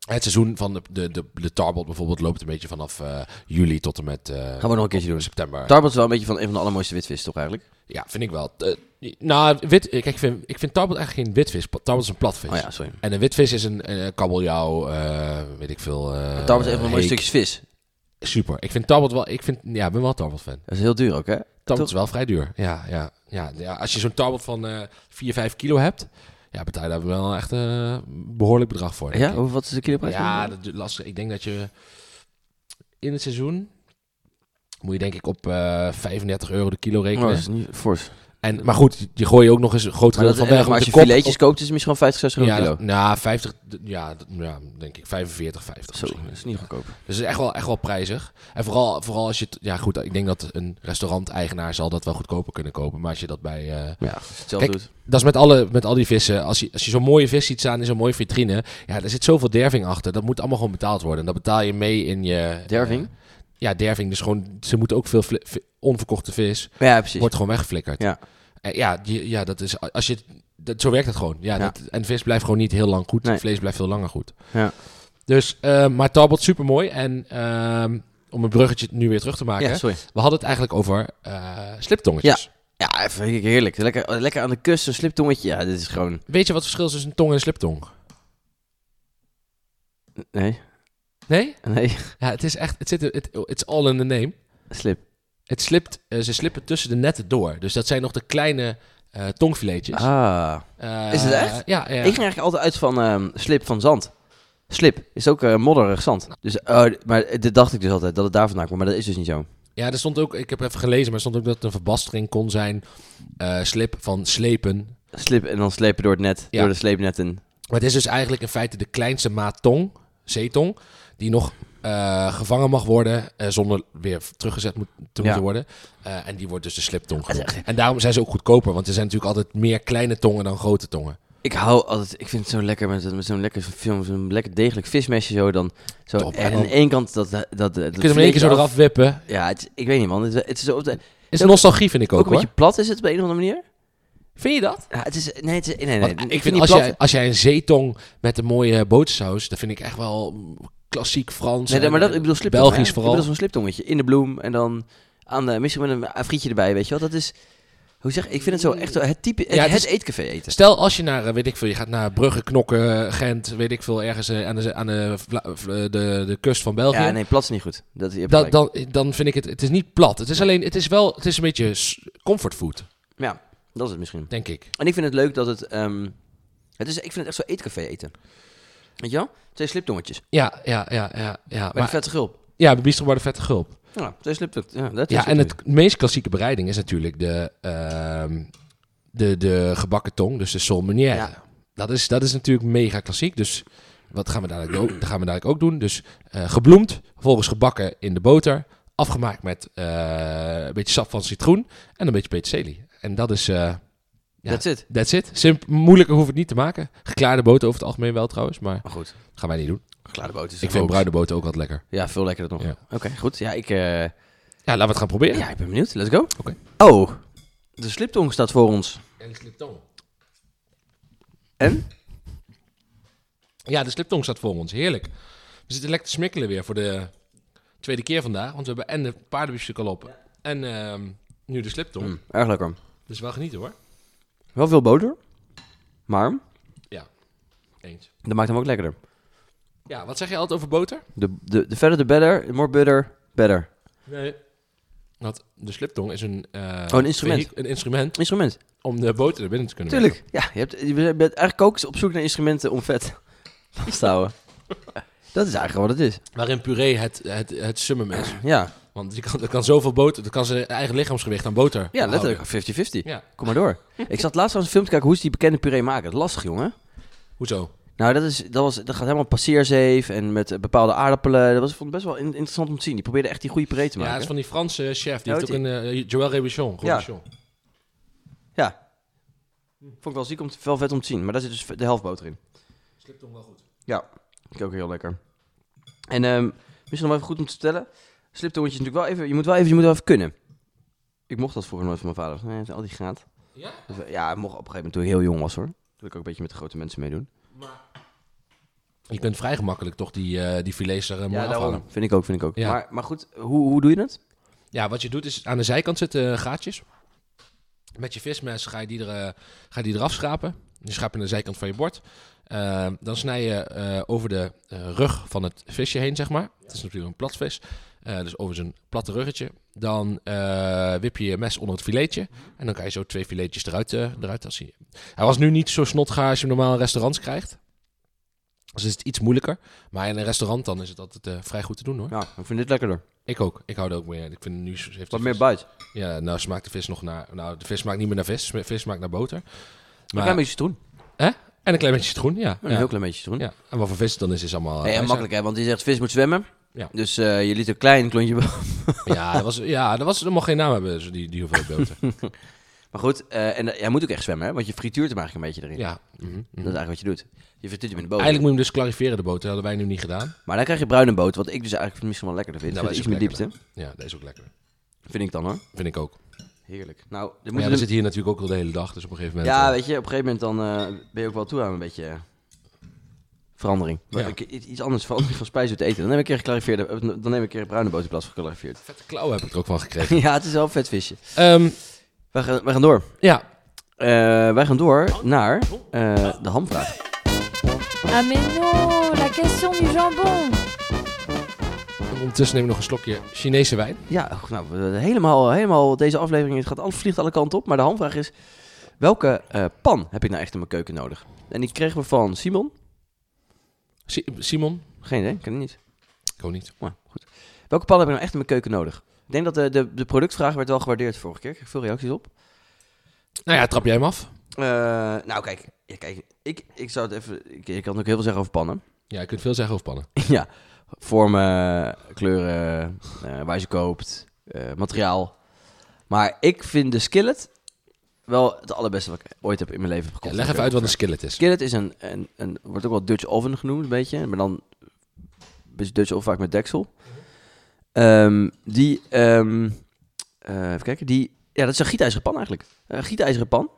[SPEAKER 1] Het seizoen van de, de, de, de tarbot bijvoorbeeld loopt een beetje vanaf eh, juli tot en met eh,
[SPEAKER 2] Gaan we nog een keertje doen.
[SPEAKER 1] september.
[SPEAKER 2] Tarbot is wel een beetje van een van de allermooiste witvis, toch eigenlijk?
[SPEAKER 1] Ja, vind ik wel. Eh, nou, wit, kijk, ik vind, ik vind tarbot eigenlijk geen witvis. Pa- Tarbot is een platvis.
[SPEAKER 2] Oh ja, sorry.
[SPEAKER 1] En een witvis is een eh, kabeljauw, eh, weet ik veel. eh
[SPEAKER 2] Tarbot is een van de mooie
[SPEAKER 1] heek.
[SPEAKER 2] stukjes vis.
[SPEAKER 1] Super. Ik vind tarbot wel, ik vind, ja, ik ben wel tarbot fan.
[SPEAKER 2] Dat is heel duur ook, hè?
[SPEAKER 1] Tarbot
[SPEAKER 2] Toch?
[SPEAKER 1] is wel vrij duur. Ja, ja, ja, ja. Als je zo'n tarbot van eh 4, 5 kilo hebt, ja, betaal je daar wel echt eh, een behoorlijk bedrag voor. denk
[SPEAKER 2] Ja?
[SPEAKER 1] ik.
[SPEAKER 2] Hoe- Wat is de kiloprijs?
[SPEAKER 1] Ja, dat is lastig. Ik denk dat je in het seizoen moet je denk ik op eh 35 euro de kilo
[SPEAKER 2] Oh, dat
[SPEAKER 1] rekenen.
[SPEAKER 2] is niet fors.
[SPEAKER 1] En, maar goed, je gooi je ook nog eens een groot
[SPEAKER 2] Maar,
[SPEAKER 1] gedeelte
[SPEAKER 2] dat,
[SPEAKER 1] van
[SPEAKER 2] eh,
[SPEAKER 1] weg.
[SPEAKER 2] maar
[SPEAKER 1] want
[SPEAKER 2] als
[SPEAKER 1] de
[SPEAKER 2] je
[SPEAKER 1] kop-
[SPEAKER 2] filetjes koopt, is het misschien gewoon 50, 60 euro
[SPEAKER 1] ja,
[SPEAKER 2] kilo.
[SPEAKER 1] dat- nou, 50, d- ja, d- ja, denk ik 45, 50.
[SPEAKER 2] Zo,
[SPEAKER 1] misschien.
[SPEAKER 2] dat is niet goedkoop.
[SPEAKER 1] Dus het is echt wel, echt wel prijzig. En vooral, vooral als je... t- Ja goed, ik denk dat een restaurant-eigenaar zal dat wel goedkoper kunnen kopen. Maar als je dat bij... eh,
[SPEAKER 2] Ja, hetzelfde
[SPEAKER 1] Kijk,
[SPEAKER 2] doet.
[SPEAKER 1] dat is met, alle, met al die vissen. Als je, als je zo'n mooie vis ziet staan in zo'n mooie vitrine... Ja, er zit zoveel derving achter. Dat moet allemaal gewoon betaald worden. En dat betaal je mee in je...
[SPEAKER 2] Derving?
[SPEAKER 1] eh, ja, derving. Dus gewoon... Ze moeten ook veel fli- vi- onverkochte vis...
[SPEAKER 2] Ja, precies.
[SPEAKER 1] Wordt gewoon weggeflikkerd.
[SPEAKER 2] Ja.
[SPEAKER 1] Eh, ja, die- ja, dat is. Als je, dat, zo werkt het gewoon. Ja,
[SPEAKER 2] Ja.
[SPEAKER 1] Dat, en vis blijft gewoon niet heel lang goed.
[SPEAKER 2] Nee.
[SPEAKER 1] Vlees blijft veel langer goed.
[SPEAKER 2] Ja.
[SPEAKER 1] Dus, eh, maar Tarbot, super mooi. En ehm, om een bruggetje nu weer terug te maken.
[SPEAKER 2] Ja, sorry.
[SPEAKER 1] We hadden het eigenlijk over eh, sliptongetjes.
[SPEAKER 2] Ja, even heerlijk. Lekker, lekker aan de kust, een sliptongetje. Ja, dit is gewoon...
[SPEAKER 1] Weet je wat het verschil is tussen een tong en een sliptong?
[SPEAKER 2] Nee,
[SPEAKER 1] Nee?
[SPEAKER 2] nee.
[SPEAKER 1] Ja, het is echt. Het zit. er- Het it's all in the name.
[SPEAKER 2] Slip.
[SPEAKER 1] Het slipt, eh, ze slippen tussen de netten door. Dus dat zijn nog de kleine eh, tongfiletjes.
[SPEAKER 2] Ah.
[SPEAKER 1] Eh,
[SPEAKER 2] Is het echt?
[SPEAKER 1] Ja, ja.
[SPEAKER 2] Ik ging eigenlijk altijd uit van ehm, slip van zand. Slip is ook eh, modderig zand. Dus, eh, maar dit dacht ik dus altijd, dat het daar vandaan kwam. Maar dat is dus niet zo.
[SPEAKER 1] Ja, er stond ook, ik heb even gelezen, maar er stond ook dat het een verbastering kon zijn. eh, slip van slepen.
[SPEAKER 2] Slip en dan slepen door het net,
[SPEAKER 1] Ja.
[SPEAKER 2] door de sleepnetten.
[SPEAKER 1] Maar het is dus eigenlijk in feite de kleinste maat tong, zeetong, die nog eh, gevangen mag worden eh, zonder weer teruggezet moet, te
[SPEAKER 2] Ja.
[SPEAKER 1] moeten worden. Eh, en die wordt dus de sliptong
[SPEAKER 2] Dat is
[SPEAKER 1] genoemd. En daarom zijn ze ook goedkoper, want er zijn natuurlijk altijd meer kleine tongen dan grote tongen.
[SPEAKER 2] Ik hou altijd, ik vind het zo lekker met, met zo'n lekker film, zo'n lekker degelijk vismesje zo dan. Zo,
[SPEAKER 1] Top, en
[SPEAKER 2] en aan
[SPEAKER 1] dan-
[SPEAKER 2] de ene kant dat... dat, dat dat
[SPEAKER 1] Je kunt hem in één keer zo
[SPEAKER 2] af-
[SPEAKER 1] eraf wippen.
[SPEAKER 2] Ja, het, is- ik weet niet man, het, het is zo op de-
[SPEAKER 1] Is een nostalgie, vind ik ook,
[SPEAKER 2] ook een
[SPEAKER 1] hoor.
[SPEAKER 2] beetje plat is het op de een of andere manier.
[SPEAKER 1] Vind je dat?
[SPEAKER 2] Ja, het is, nee, het is, nee, nee,
[SPEAKER 1] Want
[SPEAKER 2] nee,
[SPEAKER 1] ik vind
[SPEAKER 2] die
[SPEAKER 1] als
[SPEAKER 2] plat-
[SPEAKER 1] jij, als jij een zeetong met een mooie botersaus, dat vind ik echt wel mm, klassiek Frans.
[SPEAKER 2] Nee,
[SPEAKER 1] en-
[SPEAKER 2] maar dat,
[SPEAKER 1] en
[SPEAKER 2] ik bedoel sliptong.
[SPEAKER 1] Belgisch
[SPEAKER 2] hè?
[SPEAKER 1] vooral.
[SPEAKER 2] Ik bedoel zo'n sliptongetje in de bloem en dan aan de, misschien met een frietje erbij, weet je wel. Dat is, hoe zeg ik, vind het zo echt zo het type, het,
[SPEAKER 1] Ja, het
[SPEAKER 2] het
[SPEAKER 1] is-
[SPEAKER 2] eetcafé eten.
[SPEAKER 1] Stel als je naar, eh, weet ik veel, je gaat naar Brugge, Knokken, eh, Gent, weet ik veel, ergens eh, aan de, aan de, Vla- eh, de, de kust van België.
[SPEAKER 2] Ja, nee, plat is niet goed. Dat, je hebt
[SPEAKER 1] dan,
[SPEAKER 2] gelijk.
[SPEAKER 1] dan, dan vind ik het, het is niet plat. Het is alleen, het is wel, het is een beetje s- comfortfood,
[SPEAKER 2] ja, dat is het misschien.
[SPEAKER 1] denk ik.
[SPEAKER 2] En ik vind het leuk dat het, ehm, het is, ik vind het echt zo eetcafé eten. Weet je wel? Twee sliptongetjes.
[SPEAKER 1] Ja, ja, ja, ja. ja.
[SPEAKER 2] Bij
[SPEAKER 1] Maar,
[SPEAKER 2] de vette gulp.
[SPEAKER 1] ja, de bistro bij de vette gulp.
[SPEAKER 2] Ja, twee sliptongetjes. Ja, dat is
[SPEAKER 1] Ja, en
[SPEAKER 2] het.
[SPEAKER 1] het meest klassieke bereiding is natuurlijk de, ehm, de, de gebakken tong, dus de solmenière.
[SPEAKER 2] Ja.
[SPEAKER 1] Dat, is, dat is natuurlijk mega klassiek, dus wat gaan we dadelijk ook, dat gaan we dadelijk ook doen? Dus eh, gebloemd, vervolgens gebakken in de boter, afgemaakt met eh, een beetje sap van citroen en een beetje peterselie. En dat is, eh ja,
[SPEAKER 2] That's it.
[SPEAKER 1] that's it. Simp, moeilijker hoeft het niet te maken. Geklaarde boter over het algemeen wel trouwens, maar
[SPEAKER 2] Maar goed,
[SPEAKER 1] gaan wij niet doen.
[SPEAKER 2] geklaarde boter is
[SPEAKER 1] Ik
[SPEAKER 2] een
[SPEAKER 1] vind
[SPEAKER 2] hoax.
[SPEAKER 1] bruine boter ook wat lekker.
[SPEAKER 2] Ja, veel lekkerder nog.
[SPEAKER 1] Ja.
[SPEAKER 2] Oké, goed. Ja, ik... eh,
[SPEAKER 1] Ja, laten we het gaan proberen.
[SPEAKER 2] Ja, ik ben benieuwd. Let's go.
[SPEAKER 1] Oké.
[SPEAKER 2] Oh, de sliptong staat voor ons.
[SPEAKER 1] En de sliptong.
[SPEAKER 2] En?
[SPEAKER 1] Ja, de sliptong staat voor ons. Heerlijk. We zitten lekker te smikkelen weer voor de tweede keer vandaag. Want we hebben en de paardenbiefstuk al op. En ehm, nu de sliptong.
[SPEAKER 2] Mm, erg lekker.
[SPEAKER 1] Dus wel genieten hoor.
[SPEAKER 2] Wel veel boter, maar...
[SPEAKER 1] Ja. Eens.
[SPEAKER 2] Dat maakt hem ook lekkerder.
[SPEAKER 1] Ja, wat zeg je altijd over boter?
[SPEAKER 2] De, de, de verder de better, the more butter, better.
[SPEAKER 1] Nee. Want de sliptong is een... eh,
[SPEAKER 2] Oh, een instrument.
[SPEAKER 1] vehikel- Een instrument
[SPEAKER 2] Instrument.
[SPEAKER 1] om de boter er binnen te kunnen
[SPEAKER 2] Tuurlijk. Ja, je, hebt, je bent eigenlijk ook op zoek naar instrumenten om vet vast te houden. Dat is eigenlijk wat het is.
[SPEAKER 1] werken. Waarin puree het, het, het summum is.
[SPEAKER 2] Ja,
[SPEAKER 1] Want die kan, er kan zoveel boter... Er kan zijn eigen lichaamsgewicht aan boter
[SPEAKER 2] ja
[SPEAKER 1] houden.
[SPEAKER 2] letterlijk 50-50.
[SPEAKER 1] Ja.
[SPEAKER 2] Kom maar door. Ik zat laatst aan een film te kijken hoe ze die bekende puree maken. Dat is lastig, jongen.
[SPEAKER 1] Hoezo?
[SPEAKER 2] Nou, dat, is, dat, was, dat gaat helemaal passeerzeef en met eh, bepaalde aardappelen. Dat was, vond ik best wel in- interessant om te zien. Die probeerde echt die goede puree
[SPEAKER 1] Ja,
[SPEAKER 2] te maken.
[SPEAKER 1] het is van die Franse chef. Die
[SPEAKER 2] Ja,
[SPEAKER 1] heeft ook
[SPEAKER 2] weet
[SPEAKER 1] een... eh, Joël Rebuchon.
[SPEAKER 2] Ja.
[SPEAKER 1] Rebuchon.
[SPEAKER 2] Ja. Vond ik wel ziek om te- wel vet om te zien. Maar daar zit dus de helft boter in.
[SPEAKER 1] Sliptong wel goed.
[SPEAKER 2] Vind ik ook heel lekker. En ehm, misschien nog wel even goed om te vertellen. Sliptoontjes natuurlijk wel even... Je moet wel even, je moet wel even kunnen. Ik mocht dat vroeger nooit van mijn vader. Nee, het is al die gaat.
[SPEAKER 1] Ja?
[SPEAKER 2] Dus, eh, ja, ik mocht op een gegeven moment toen ik heel jong was hoor. Toen wil ik ook een beetje met de grote mensen meedoen.
[SPEAKER 1] Je kunt vrij gemakkelijk toch die, eh, die filets er eh, mooi afhalen.
[SPEAKER 2] Vind ik ook, vind ik ook.
[SPEAKER 1] Ja.
[SPEAKER 2] Maar, maar goed, hoe, hoe doe je dat?
[SPEAKER 1] Ja, wat je doet is aan de zijkant zitten eh, gaatjes. Met je vismes ga je die, er, eh, ga je die eraf schrapen. Die schraap je aan de zijkant van je bord. Eh, dan snij je eh, over de eh, rug van het visje heen, zeg maar. Het is natuurlijk een platvis. eh, dus over zijn platte ruggetje. Dan eh, wip je je mes onder het filetje. En dan kan je zo twee filetjes eruit, eh eruit als hij... hij was nu niet zo snotga als je hem normaal in restaurants krijgt. Dus is het iets moeilijker. Maar in een restaurant dan is het altijd eh, vrij goed te doen hoor.
[SPEAKER 2] Nou, ik vind dit lekkerder.
[SPEAKER 1] Ik ook. Ik hou er ook meer. Ik vind nu heeft de
[SPEAKER 2] Wat meer
[SPEAKER 1] vis-
[SPEAKER 2] bite.
[SPEAKER 1] ja, nou smaakt de vis nog naar... Nou, de vis smaakt niet meer naar vis. De Vis smaakt naar boter.
[SPEAKER 2] Een
[SPEAKER 1] Maar,
[SPEAKER 2] klein beetje citroen.
[SPEAKER 1] En een klein beetje citroen, ja.
[SPEAKER 2] Een
[SPEAKER 1] ja.
[SPEAKER 2] heel klein beetje citroen.
[SPEAKER 1] Ja. En wat voor vis het dan is, is allemaal... eh,
[SPEAKER 2] Hey, en
[SPEAKER 1] wijs,
[SPEAKER 2] makkelijk hè, want die zegt vis moet zwemmen.
[SPEAKER 1] Ja.
[SPEAKER 2] Dus eh, je liet een klein klontje.
[SPEAKER 1] hè. Ja, dat was, ja, dat was, er mocht geen naam hebben, zo die, die hoeveelheid boter.
[SPEAKER 2] Maar goed, eh, en eh, hij moet ook echt zwemmen hè, want je frituurt hem eigenlijk een beetje erin.
[SPEAKER 1] ja. mhm, mhm.
[SPEAKER 2] Dat is eigenlijk wat je doet. Je frituurt hem in de boter.
[SPEAKER 1] Eigenlijk moet je hem dus clarifieren, de boter. Dat hadden wij nu niet gedaan.
[SPEAKER 2] Maar dan krijg je bruine boter, wat ik dus eigenlijk misschien wel lekkerder vind.
[SPEAKER 1] Nou,
[SPEAKER 2] Met
[SPEAKER 1] dat
[SPEAKER 2] iets
[SPEAKER 1] is
[SPEAKER 2] meer
[SPEAKER 1] ook
[SPEAKER 2] diepte.
[SPEAKER 1] Ja, dat is ook lekker.
[SPEAKER 2] Vind ik dan hoor.
[SPEAKER 1] Vind ik ook.
[SPEAKER 2] Heerlijk. Nou,
[SPEAKER 1] Maar
[SPEAKER 2] dan moet
[SPEAKER 1] ja,
[SPEAKER 2] je
[SPEAKER 1] we
[SPEAKER 2] hem-
[SPEAKER 1] zitten hier natuurlijk ook al de hele dag. Dus op een gegeven moment...
[SPEAKER 2] ja
[SPEAKER 1] eh,
[SPEAKER 2] weet je, op een gegeven moment dan eh, ben je ook wel toe aan een beetje eh, verandering. Maar
[SPEAKER 1] Ja.
[SPEAKER 2] ik- iets iets anders, verandering van spijs uit eten. Dan neem ik een keer geclarifeerde, eh, dan neem ik een keer bruine boter in plaats van geclarifeerd.
[SPEAKER 1] Vette klauwen heb ik er ook van gekregen.
[SPEAKER 2] ja, het is wel een vet visje.
[SPEAKER 1] Ehm,
[SPEAKER 2] Wij gaan, wij gaan door.
[SPEAKER 1] ja.
[SPEAKER 2] Eh, wij gaan
[SPEAKER 1] Oh.
[SPEAKER 2] door naar eh, de hamvraag.
[SPEAKER 3] Ah mais non, la question du jambon.
[SPEAKER 1] Ondertussen neem ik nog een slokje Chinese wijn.
[SPEAKER 2] Ja, och, nou, we- helemaal, helemaal deze aflevering. Het gaat al, vliegt alle kanten op. Maar de hamvraag is: welke eh, pan heb ik nou echt in mijn keuken nodig? En die kregen we van Simon.
[SPEAKER 1] Si- Simon?
[SPEAKER 2] Geen idee, ken ik niet.
[SPEAKER 1] Ik ook niet.
[SPEAKER 2] Maar goed. Welke pan heb ik nou echt in mijn keuken nodig? Ik denk dat de, de, de productvraag werd wel gewaardeerd vorige keer. Ik kreeg veel reacties op.
[SPEAKER 1] Nou ja, trap jij hem af?
[SPEAKER 2] Eh, nou, kijk, ja, kijk ik, ik zou het even. Ik, ik kan ook heel veel zeggen over pannen.
[SPEAKER 1] Ja, je kunt veel zeggen over pannen.
[SPEAKER 2] ja, vormen, kleuren, eh, waar je ze koopt, eh, materiaal. Maar ik vind de skillet wel het allerbeste wat ik ooit heb in mijn leven heb
[SPEAKER 1] Ja,
[SPEAKER 2] gekocht.
[SPEAKER 1] leg even uit wat een skillet is.
[SPEAKER 2] skillet is een, een, een, wordt ook wel Dutch oven genoemd, een beetje. Maar dan is Dutch oven vaak met deksel. Ehm, die, ehm, eh, even kijken, die, ja, dat is een gietijzeren pan eigenlijk. Een gietijzeren pan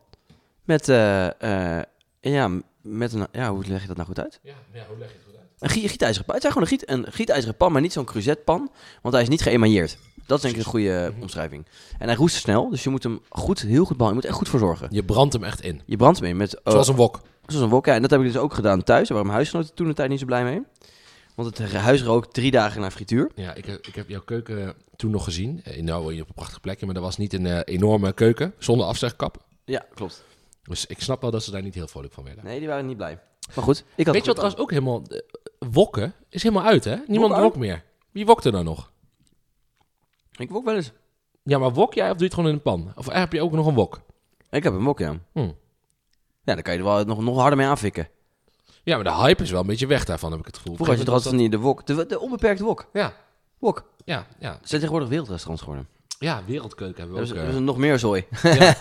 [SPEAKER 2] met, eh, eh, ja, met een, ja, hoe leg je dat nou goed uit?
[SPEAKER 1] Ja, hoe leg je het goed uit?
[SPEAKER 2] Een gie- gietijzeren pan. Het is gewoon een, giet, een gietijzeren pan, maar niet zo'n cruzetpan. Want hij is niet geëmailleerd. Dat is denk ik een goede eh,
[SPEAKER 1] Mhm.
[SPEAKER 2] omschrijving. En hij roest snel, dus je moet hem goed, heel goed behandelen. Je moet er echt goed voor zorgen.
[SPEAKER 1] Je brandt hem echt in.
[SPEAKER 2] Je brandt hem in met... oh,
[SPEAKER 1] Zoals een wok.
[SPEAKER 2] zoals een wok. Ja, en dat heb ik dus ook gedaan thuis. Daar waren mijn huisgenoten toen de tijd niet zo blij mee. Want het huis rook drie dagen na frituur.
[SPEAKER 1] Ja, ik, heb- ik heb jouw keuken toen nog gezien. Eh, Nou, op een prachtige plekje, maar dat was niet een eh, enorme keuken zonder afzegkap.
[SPEAKER 2] Ja, klopt.
[SPEAKER 1] Dus ik snap wel dat ze daar niet heel vrolijk van werden.
[SPEAKER 2] Nee, die waren niet blij. Maar goed, ik had
[SPEAKER 1] Weet je wat
[SPEAKER 2] het goed
[SPEAKER 1] trouwens ook helemaal... eh, wokken is helemaal uit, hè? Niemand
[SPEAKER 2] Wok uit?
[SPEAKER 1] wokt meer. Wie wokt er nou nog?
[SPEAKER 2] gedaan. Ik wok wel eens.
[SPEAKER 1] Ja, maar wok jij of doe je het gewoon in een pan? Of heb je ook nog een wok?
[SPEAKER 2] Ik heb een wok, ja.
[SPEAKER 1] Hm.
[SPEAKER 2] Ja, dan kan je er wel nog, nog harder mee aanfikken.
[SPEAKER 1] Ja, maar de hype is wel een beetje weg daarvan, heb ik het gevoel.
[SPEAKER 2] Vroeger had je er altijd niet de wok. De, de onbeperkte wok.
[SPEAKER 1] Ja,
[SPEAKER 2] Wok.
[SPEAKER 1] ja, ja.
[SPEAKER 2] Ze zijn tegenwoordig wereldrestaurants geworden.
[SPEAKER 1] Ja, wereldkeuken hebben we
[SPEAKER 2] Dat is,
[SPEAKER 1] ook.
[SPEAKER 2] dat
[SPEAKER 1] eh.
[SPEAKER 2] is nog meer zooi.
[SPEAKER 1] ja,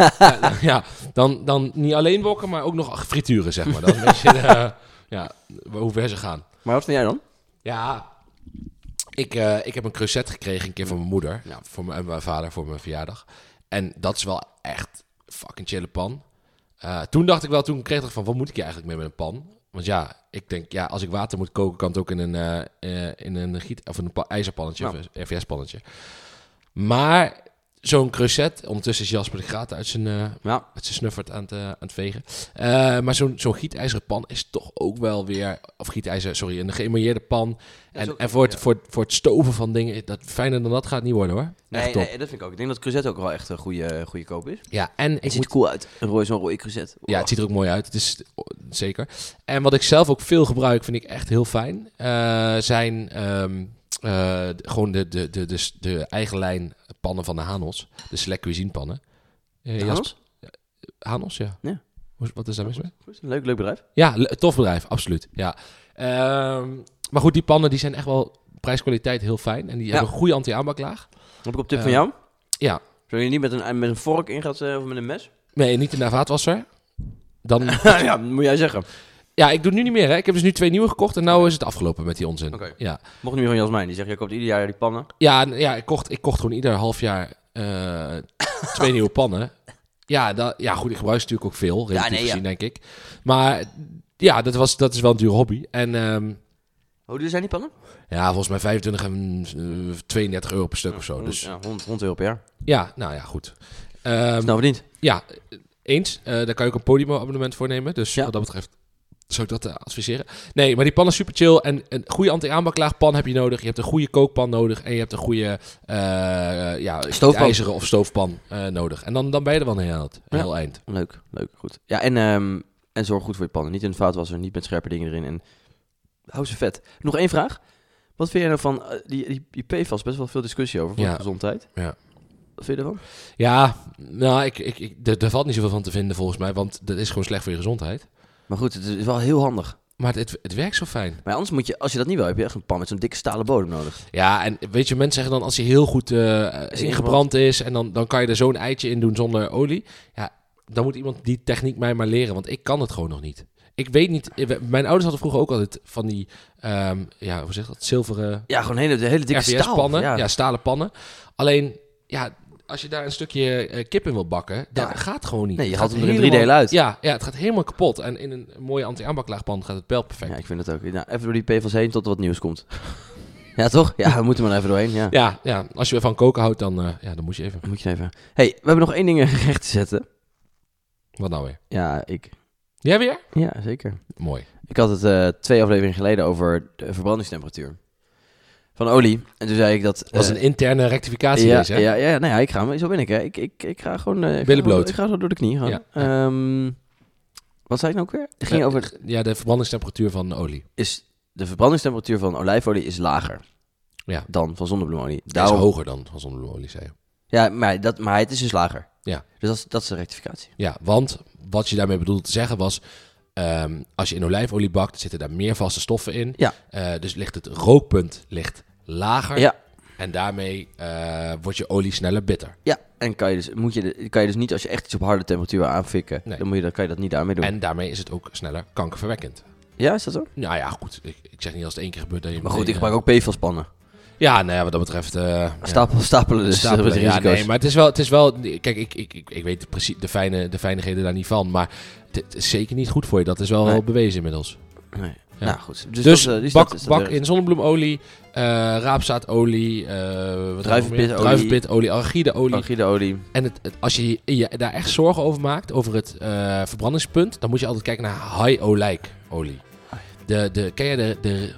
[SPEAKER 1] ja, dan, dan niet alleen wokken, maar ook nog frituren, zeg maar. Dat is een beetje de, eh, ja, hoe ver ze gaan.
[SPEAKER 2] Maar wat vind jij dan?
[SPEAKER 1] Ja, ik, eh, ik heb een creuset gekregen een keer van mijn moeder. Ja, voor mijn, en mijn vader voor mijn verjaardag. En dat is wel echt fucking chille pan. Eh, toen dacht ik wel, toen kreeg ik van, wat moet ik hier eigenlijk mee met een pan? Want ja, ik denk, ja, als ik water moet koken, kan het ook in een, eh, eh, in een giet, of in een pa- ijzerpannetje,
[SPEAKER 2] Nou.
[SPEAKER 1] of een RVS-pannetje. Maar zo'n creuset. Ondertussen is Jasper de Graat uit zijn, eh,
[SPEAKER 2] Ja.
[SPEAKER 1] uit zijn snuffert aan het, eh, aan het vegen. Eh, maar zo'n zo'n gietijzeren pan is toch ook wel weer... Of gietijzer, sorry, een geëmailleerde pan.
[SPEAKER 2] is
[SPEAKER 1] En,
[SPEAKER 2] ook-
[SPEAKER 1] en voor, het,
[SPEAKER 2] ja.
[SPEAKER 1] voor, het- voor het stoven van dingen, dat, fijner dan dat gaat het niet worden hoor.
[SPEAKER 2] Nee,
[SPEAKER 1] Echt top.
[SPEAKER 2] nee, dat vind ik ook. Ik denk dat Cruzet ook wel echt een goede, eh, goede koop is.
[SPEAKER 1] Ja, en ik
[SPEAKER 2] Het ziet
[SPEAKER 1] moet
[SPEAKER 2] er cool uit. Een rooi, zo'n rode Cruzet.
[SPEAKER 1] Ja, het ziet er ook mooi uit. Het is oh, zeker. En wat ik zelf ook veel gebruik, vind ik echt heel fijn. eh, zijn ehm, eh, d- gewoon de, de, de, de, de eigen lijn pannen van de Hanos. De Select Cuisine pannen. Eh,
[SPEAKER 2] De
[SPEAKER 1] Jasper-
[SPEAKER 2] Hanos?
[SPEAKER 1] Hanos, ja.
[SPEAKER 2] Ja.
[SPEAKER 1] Hoe- Wat is daar mis mee?
[SPEAKER 2] Goed, Leuk, leuk bedrijf.
[SPEAKER 1] Ja, le- tof bedrijf, absoluut. Ja. Ehm, maar goed, die pannen die zijn echt wel prijskwaliteit heel fijn. En die
[SPEAKER 2] Ja.
[SPEAKER 1] hebben een goede anti-aanbaklaag.
[SPEAKER 2] Heb ik op tip
[SPEAKER 1] Eh,
[SPEAKER 2] van jou?
[SPEAKER 1] ja.
[SPEAKER 2] Zou je niet met een, met een vork in gaat eh, of met een mes?
[SPEAKER 1] Nee, niet in de vaatwasser. Dan,
[SPEAKER 2] ja, moet jij zeggen.
[SPEAKER 1] ja, ik doe het nu niet meer. Hè. Ik heb dus nu twee nieuwe gekocht en nu is het afgelopen met die onzin.
[SPEAKER 2] Oké.
[SPEAKER 1] Ja.
[SPEAKER 2] Mocht nu van Jasmijn, die zegt, jij koopt ieder jaar die pannen.
[SPEAKER 1] Ja, n- ja ik, kocht, ik kocht gewoon ieder half jaar eh, twee nieuwe pannen. Ja, dat, ja, goed, ik gebruik ze natuurlijk ook veel, relatief
[SPEAKER 2] nee, ja.
[SPEAKER 1] gezien, denk ik. Maar ja, dat, was, dat is wel een dure hobby. En ehm,
[SPEAKER 2] Hoe duur Oh, zijn die pannen?
[SPEAKER 1] ja, volgens mij 25 en eh, 32 euro per stuk of zo.
[SPEAKER 2] Hond-
[SPEAKER 1] Dus
[SPEAKER 2] Ja, 100, 100 euro per jaar.
[SPEAKER 1] ja, nou ja, goed. Ehm,
[SPEAKER 2] Snel verdiend.
[SPEAKER 1] ja, eens. Eh, daar kan je ook een Podimo-abonnement voor nemen. Dus
[SPEAKER 2] Ja.
[SPEAKER 1] wat dat betreft zou ik dat eh, adviseren. Nee, maar die pan is super chill. En een goede anti-aanbaklaagpan heb je nodig. Je hebt een goede kookpan nodig. En je hebt een goede eh, ja,
[SPEAKER 2] Stoofpan.
[SPEAKER 1] ijzeren of stoofpan eh, nodig. En dan, dan ben je er wel een heel, eind- een
[SPEAKER 2] Ja.
[SPEAKER 1] heel eind.
[SPEAKER 2] Leuk, leuk, goed. Ja, en, ehm, en zorg goed voor je pannen. Niet in het vaatwasser, niet met scherpe dingen erin. En hou ze vet. Nog één vraag. Wat vind je nou van, eh, die, die, die PFAS, best wel veel discussie over voor
[SPEAKER 1] Ja.
[SPEAKER 2] de gezondheid.
[SPEAKER 1] Ja.
[SPEAKER 2] Wat vind je ervan?
[SPEAKER 1] Ja, nou, ik, ik, ik, er, er valt niet zoveel van te vinden volgens mij. Want dat is gewoon slecht voor je gezondheid.
[SPEAKER 2] Maar goed, het is wel heel handig.
[SPEAKER 1] Maar het, het werkt zo fijn.
[SPEAKER 2] Maar anders moet je, als je dat niet wil, heb je echt een pan met zo'n dikke stalen bodem nodig.
[SPEAKER 1] Ja, en weet je, mensen zeggen dan als hij heel goed eh, ingebrand is en dan, dan kan je er zo'n eitje in doen zonder olie. Ja, dan moet iemand die techniek mij maar leren, want ik kan het gewoon nog niet. Ik weet niet, eh, we- mijn ouders hadden vroeger ook altijd van die, ehm, ja, hoe zeg je dat, zilveren
[SPEAKER 2] Ja, gewoon hele, de hele dikke staal.
[SPEAKER 1] RVS-pannen, ja.
[SPEAKER 2] Ja.
[SPEAKER 1] stalen pannen. Alleen, ja, als je daar een stukje eh, kip in wil bakken, dat
[SPEAKER 2] Ja.
[SPEAKER 1] gaat gewoon niet.
[SPEAKER 2] Nee, je
[SPEAKER 1] Het
[SPEAKER 2] haalt
[SPEAKER 1] gaat
[SPEAKER 2] hem er in drie
[SPEAKER 1] helemaal-
[SPEAKER 2] delen
[SPEAKER 1] Ja,
[SPEAKER 2] uit.
[SPEAKER 1] ja, het gaat helemaal kapot. En in een mooie anti-aanbaklaagpan gaat het wel perfect.
[SPEAKER 2] Ja, ik vind het ook. Nou, even door die PFAS heen tot er wat nieuws komt. ja, toch? Ja, we moeten maar even doorheen. Ja.
[SPEAKER 1] Ja, ja, als je van koken houdt, dan, eh, ja, dan moet je even.
[SPEAKER 2] Moet je even. hey, we hebben nog één ding eh, recht te zetten.
[SPEAKER 1] Wat nou weer?
[SPEAKER 2] Ja, ik.
[SPEAKER 1] Jij weer?
[SPEAKER 2] Ja, zeker.
[SPEAKER 1] Mooi.
[SPEAKER 2] Ik had het eh, twee afleveringen geleden over de verbrandingstemperatuur van olie. En toen zei ik dat...
[SPEAKER 1] Dat was
[SPEAKER 2] eh,
[SPEAKER 1] een interne rectificatie
[SPEAKER 2] ja,
[SPEAKER 1] deze, hè?
[SPEAKER 2] Ja, ja, nou ja, ik ga, maar zo ben ik, hè. Ik, ik, ik ga gewoon... eh, ik
[SPEAKER 1] Billen
[SPEAKER 2] ga gewoon-
[SPEAKER 1] bloot.
[SPEAKER 2] Ik ga zo door de knie gaan.
[SPEAKER 1] Ja.
[SPEAKER 2] Ehm, wat zei ik nou ook weer? Het ging
[SPEAKER 1] Eh,
[SPEAKER 2] over...
[SPEAKER 1] Ja, de verbrandingstemperatuur van de olie.
[SPEAKER 2] Is, de verbrandingstemperatuur van olijfolie is lager
[SPEAKER 1] Ja.
[SPEAKER 2] dan van zonnebloemolie.
[SPEAKER 1] Dat is
[SPEAKER 2] Daarom,
[SPEAKER 1] hoger dan van zonnebloemolie, zei je.
[SPEAKER 2] ja, maar, dat, maar het is dus lager.
[SPEAKER 1] Ja.
[SPEAKER 2] Dus dat is, dat is de rectificatie.
[SPEAKER 1] Ja, want wat je daarmee bedoelde te zeggen was... ehm, als je in olijfolie bakt, zitten daar meer vaste stoffen in.
[SPEAKER 2] Ja.
[SPEAKER 1] Eh, dus ligt het rookpunt ligt lager.
[SPEAKER 2] Ja.
[SPEAKER 1] En daarmee eh, wordt je olie sneller bitter.
[SPEAKER 2] Ja, en kan je, dus, moet je, de- kan je dus niet als je echt iets op harde temperatuur aanfikken,
[SPEAKER 1] Nee.
[SPEAKER 2] dan, moet je, dan kan je dat niet daarmee doen.
[SPEAKER 1] En daarmee is het ook sneller kankerverwekkend.
[SPEAKER 2] Ja, is dat zo?
[SPEAKER 1] Nou ja, goed. Ik, ik zeg niet als het één keer gebeurt dat je...
[SPEAKER 2] Maar goed, ik
[SPEAKER 1] meteen,
[SPEAKER 2] gebruik ook PFAS-pannen.
[SPEAKER 1] eh, Ja, nou ja, wat dat betreft... eh, ja.
[SPEAKER 2] Stapel, Stapelen dus.
[SPEAKER 1] Stapelen,
[SPEAKER 2] met de
[SPEAKER 1] ja,
[SPEAKER 2] risico's.
[SPEAKER 1] nee, maar het is wel, het is wel kijk, ik, ik, ik, ik weet precies de, fijne, de fijnigheden daar niet van, maar het, het is zeker niet goed voor je. Dat is wel
[SPEAKER 2] Nee.
[SPEAKER 1] bewezen inmiddels.
[SPEAKER 2] Nee.
[SPEAKER 1] Ja.
[SPEAKER 2] Nou goed,
[SPEAKER 1] Dus,
[SPEAKER 2] dus, dat is, eh, die stad
[SPEAKER 1] bak,
[SPEAKER 2] is dat
[SPEAKER 1] bak
[SPEAKER 2] weer.
[SPEAKER 1] in zonnebloemolie, eh, raapzaadolie, eh wat
[SPEAKER 2] Druivenpitolie.
[SPEAKER 1] nog meer? druivenpitolie, arachideolie.
[SPEAKER 2] Arachideolie.
[SPEAKER 1] En het, het- als je je daar echt zorgen over maakt, over het eh, verbrandigingspunt, dan moet je altijd kijken naar high olijkolie. De, de, ken je de, de,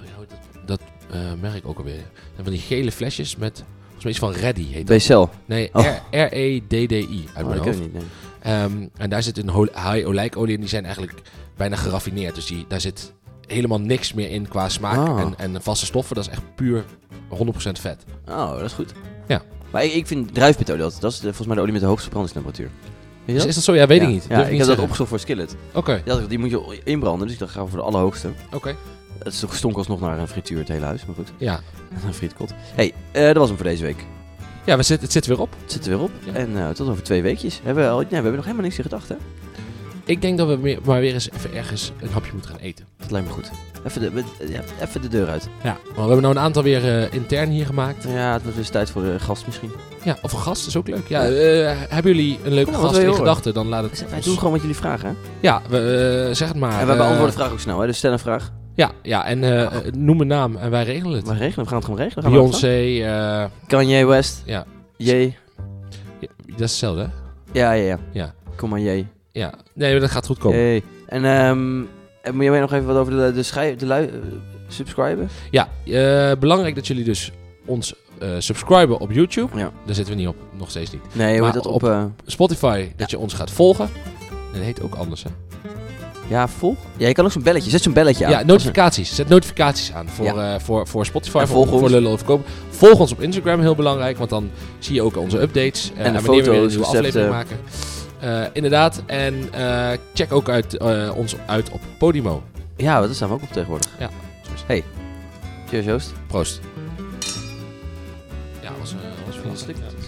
[SPEAKER 1] dat eh, merk ook alweer, van die gele flesjes met, volgens mij iets van Reddy heet dat.
[SPEAKER 2] BCL.
[SPEAKER 1] Nee,
[SPEAKER 2] Oh.
[SPEAKER 1] R- E R-E-D-D-I uit
[SPEAKER 2] Oh,
[SPEAKER 1] mijn
[SPEAKER 2] dat ken ik
[SPEAKER 1] hoofd.
[SPEAKER 2] niet. nee.
[SPEAKER 1] Ehm, en daar zit een hol- high olijkolie in. Die zijn eigenlijk bijna geraffineerd. Dus die, daar zit helemaal niks meer in qua smaak
[SPEAKER 2] Ah.
[SPEAKER 1] en, en vaste stoffen. Dat is echt puur 100% vet.
[SPEAKER 2] Oh, dat is goed.
[SPEAKER 1] Ja.
[SPEAKER 2] Maar ik, ik vind druifpitolie altijd, dat is de- volgens mij de olie met de hoogste brandingstemperatuur. Weet je
[SPEAKER 1] Dus
[SPEAKER 2] dat?
[SPEAKER 1] is dat zo? Ja, weet
[SPEAKER 2] Ja.
[SPEAKER 1] ik niet.
[SPEAKER 2] Ja,
[SPEAKER 1] Durf niet
[SPEAKER 2] ik heb
[SPEAKER 1] te
[SPEAKER 2] dat
[SPEAKER 1] zeggen.
[SPEAKER 2] opgezocht voor Skillet.
[SPEAKER 1] Oké,
[SPEAKER 2] Die, had ik- die moet je inbranden, dus ik dacht, gaan we voor de allerhoogste.
[SPEAKER 1] oké.
[SPEAKER 2] Het is toch stonk alsnog naar een frituur, het hele huis, maar goed.
[SPEAKER 1] Ja,
[SPEAKER 2] Een frietkot. hey, eh, dat was hem voor deze week.
[SPEAKER 1] ja we zit, het zit weer op.
[SPEAKER 2] Het zit er weer op.
[SPEAKER 1] Ja.
[SPEAKER 2] En eh, tot over twee weekjes. Hebben we, al, nee, we hebben nog helemaal niks in gedachten.
[SPEAKER 1] Ik denk dat we meer- maar weer eens even ergens een hapje moeten gaan eten.
[SPEAKER 2] Dat lijkt me goed. Even de, we- ja, even de deur uit.
[SPEAKER 1] Ja. we hebben nou een aantal weer eh, intern hier gemaakt.
[SPEAKER 2] Ja, het wordt dus tijd voor de gast misschien.
[SPEAKER 1] Ja, of een gast, is ook leuk. Ja, eh, hebben jullie een leuke
[SPEAKER 2] Ja, wat
[SPEAKER 1] gast
[SPEAKER 2] wil
[SPEAKER 1] in
[SPEAKER 2] je horen?
[SPEAKER 1] gedachten? Dan laat het
[SPEAKER 2] Wij
[SPEAKER 1] ons-
[SPEAKER 2] doen gewoon wat jullie vragen, hè?
[SPEAKER 1] Ja, we, eh, zeg het maar.
[SPEAKER 2] en wij beantwoorden
[SPEAKER 1] Eh,
[SPEAKER 2] de vraag ook snel, hè? Dus stel een vraag.
[SPEAKER 1] Ja, ja en eh, eh, noem een naam en wij regelen het.
[SPEAKER 2] We regelen, we gaan het gewoon regelen. Gaan we
[SPEAKER 1] Beyoncé, eh,
[SPEAKER 2] aan de gang. Kanye West.
[SPEAKER 1] Ja.
[SPEAKER 2] Jay.
[SPEAKER 1] Dat is hetzelfde, hè?
[SPEAKER 2] Ja, ja, ja.
[SPEAKER 1] Ja.
[SPEAKER 2] Kom maar, jee.
[SPEAKER 1] Ja. Nee, maar dat gaat goed komen.
[SPEAKER 2] Jee. En ehm, en moet je mij nog even wat over de, de, schrijf, de lui... eh, subscriben?
[SPEAKER 1] Ja, eh, belangrijk dat jullie dus ons eh, subscriben op YouTube.
[SPEAKER 2] Ja.
[SPEAKER 1] Daar zitten we niet op, nog steeds niet.
[SPEAKER 2] Nee, hoe
[SPEAKER 1] Maar
[SPEAKER 2] heet dat op...
[SPEAKER 1] op-
[SPEAKER 2] eh,
[SPEAKER 1] Spotify, dat je ons gaat volgen. Dat heet ook anders, hè?
[SPEAKER 2] ja, volg? Ja, je kan ook zo'n belletje. Zet zo'n belletje
[SPEAKER 1] Ja,
[SPEAKER 2] aan.
[SPEAKER 1] notificaties. Zet notificaties aan voor, eh, voor, voor Spotify,
[SPEAKER 2] En
[SPEAKER 1] voor,
[SPEAKER 2] volg ons.
[SPEAKER 1] voor Lullen of Kopen. Volg ons op Instagram, heel belangrijk, want dan zie je ook onze updates. eh,
[SPEAKER 2] En de
[SPEAKER 1] wanneer we weer een
[SPEAKER 2] foto's,
[SPEAKER 1] nieuwe
[SPEAKER 2] recepten.
[SPEAKER 1] aflevering maken. Eh, inderdaad, en eh, check ook uit, eh, ons uit op Podimo.
[SPEAKER 2] Ja, dat staan we ook op tegenwoordig.
[SPEAKER 1] Ja.
[SPEAKER 2] Hey. Cheers, Joost.
[SPEAKER 1] Proost. Ja, was, eh was
[SPEAKER 2] Wat slikt.
[SPEAKER 1] Ja.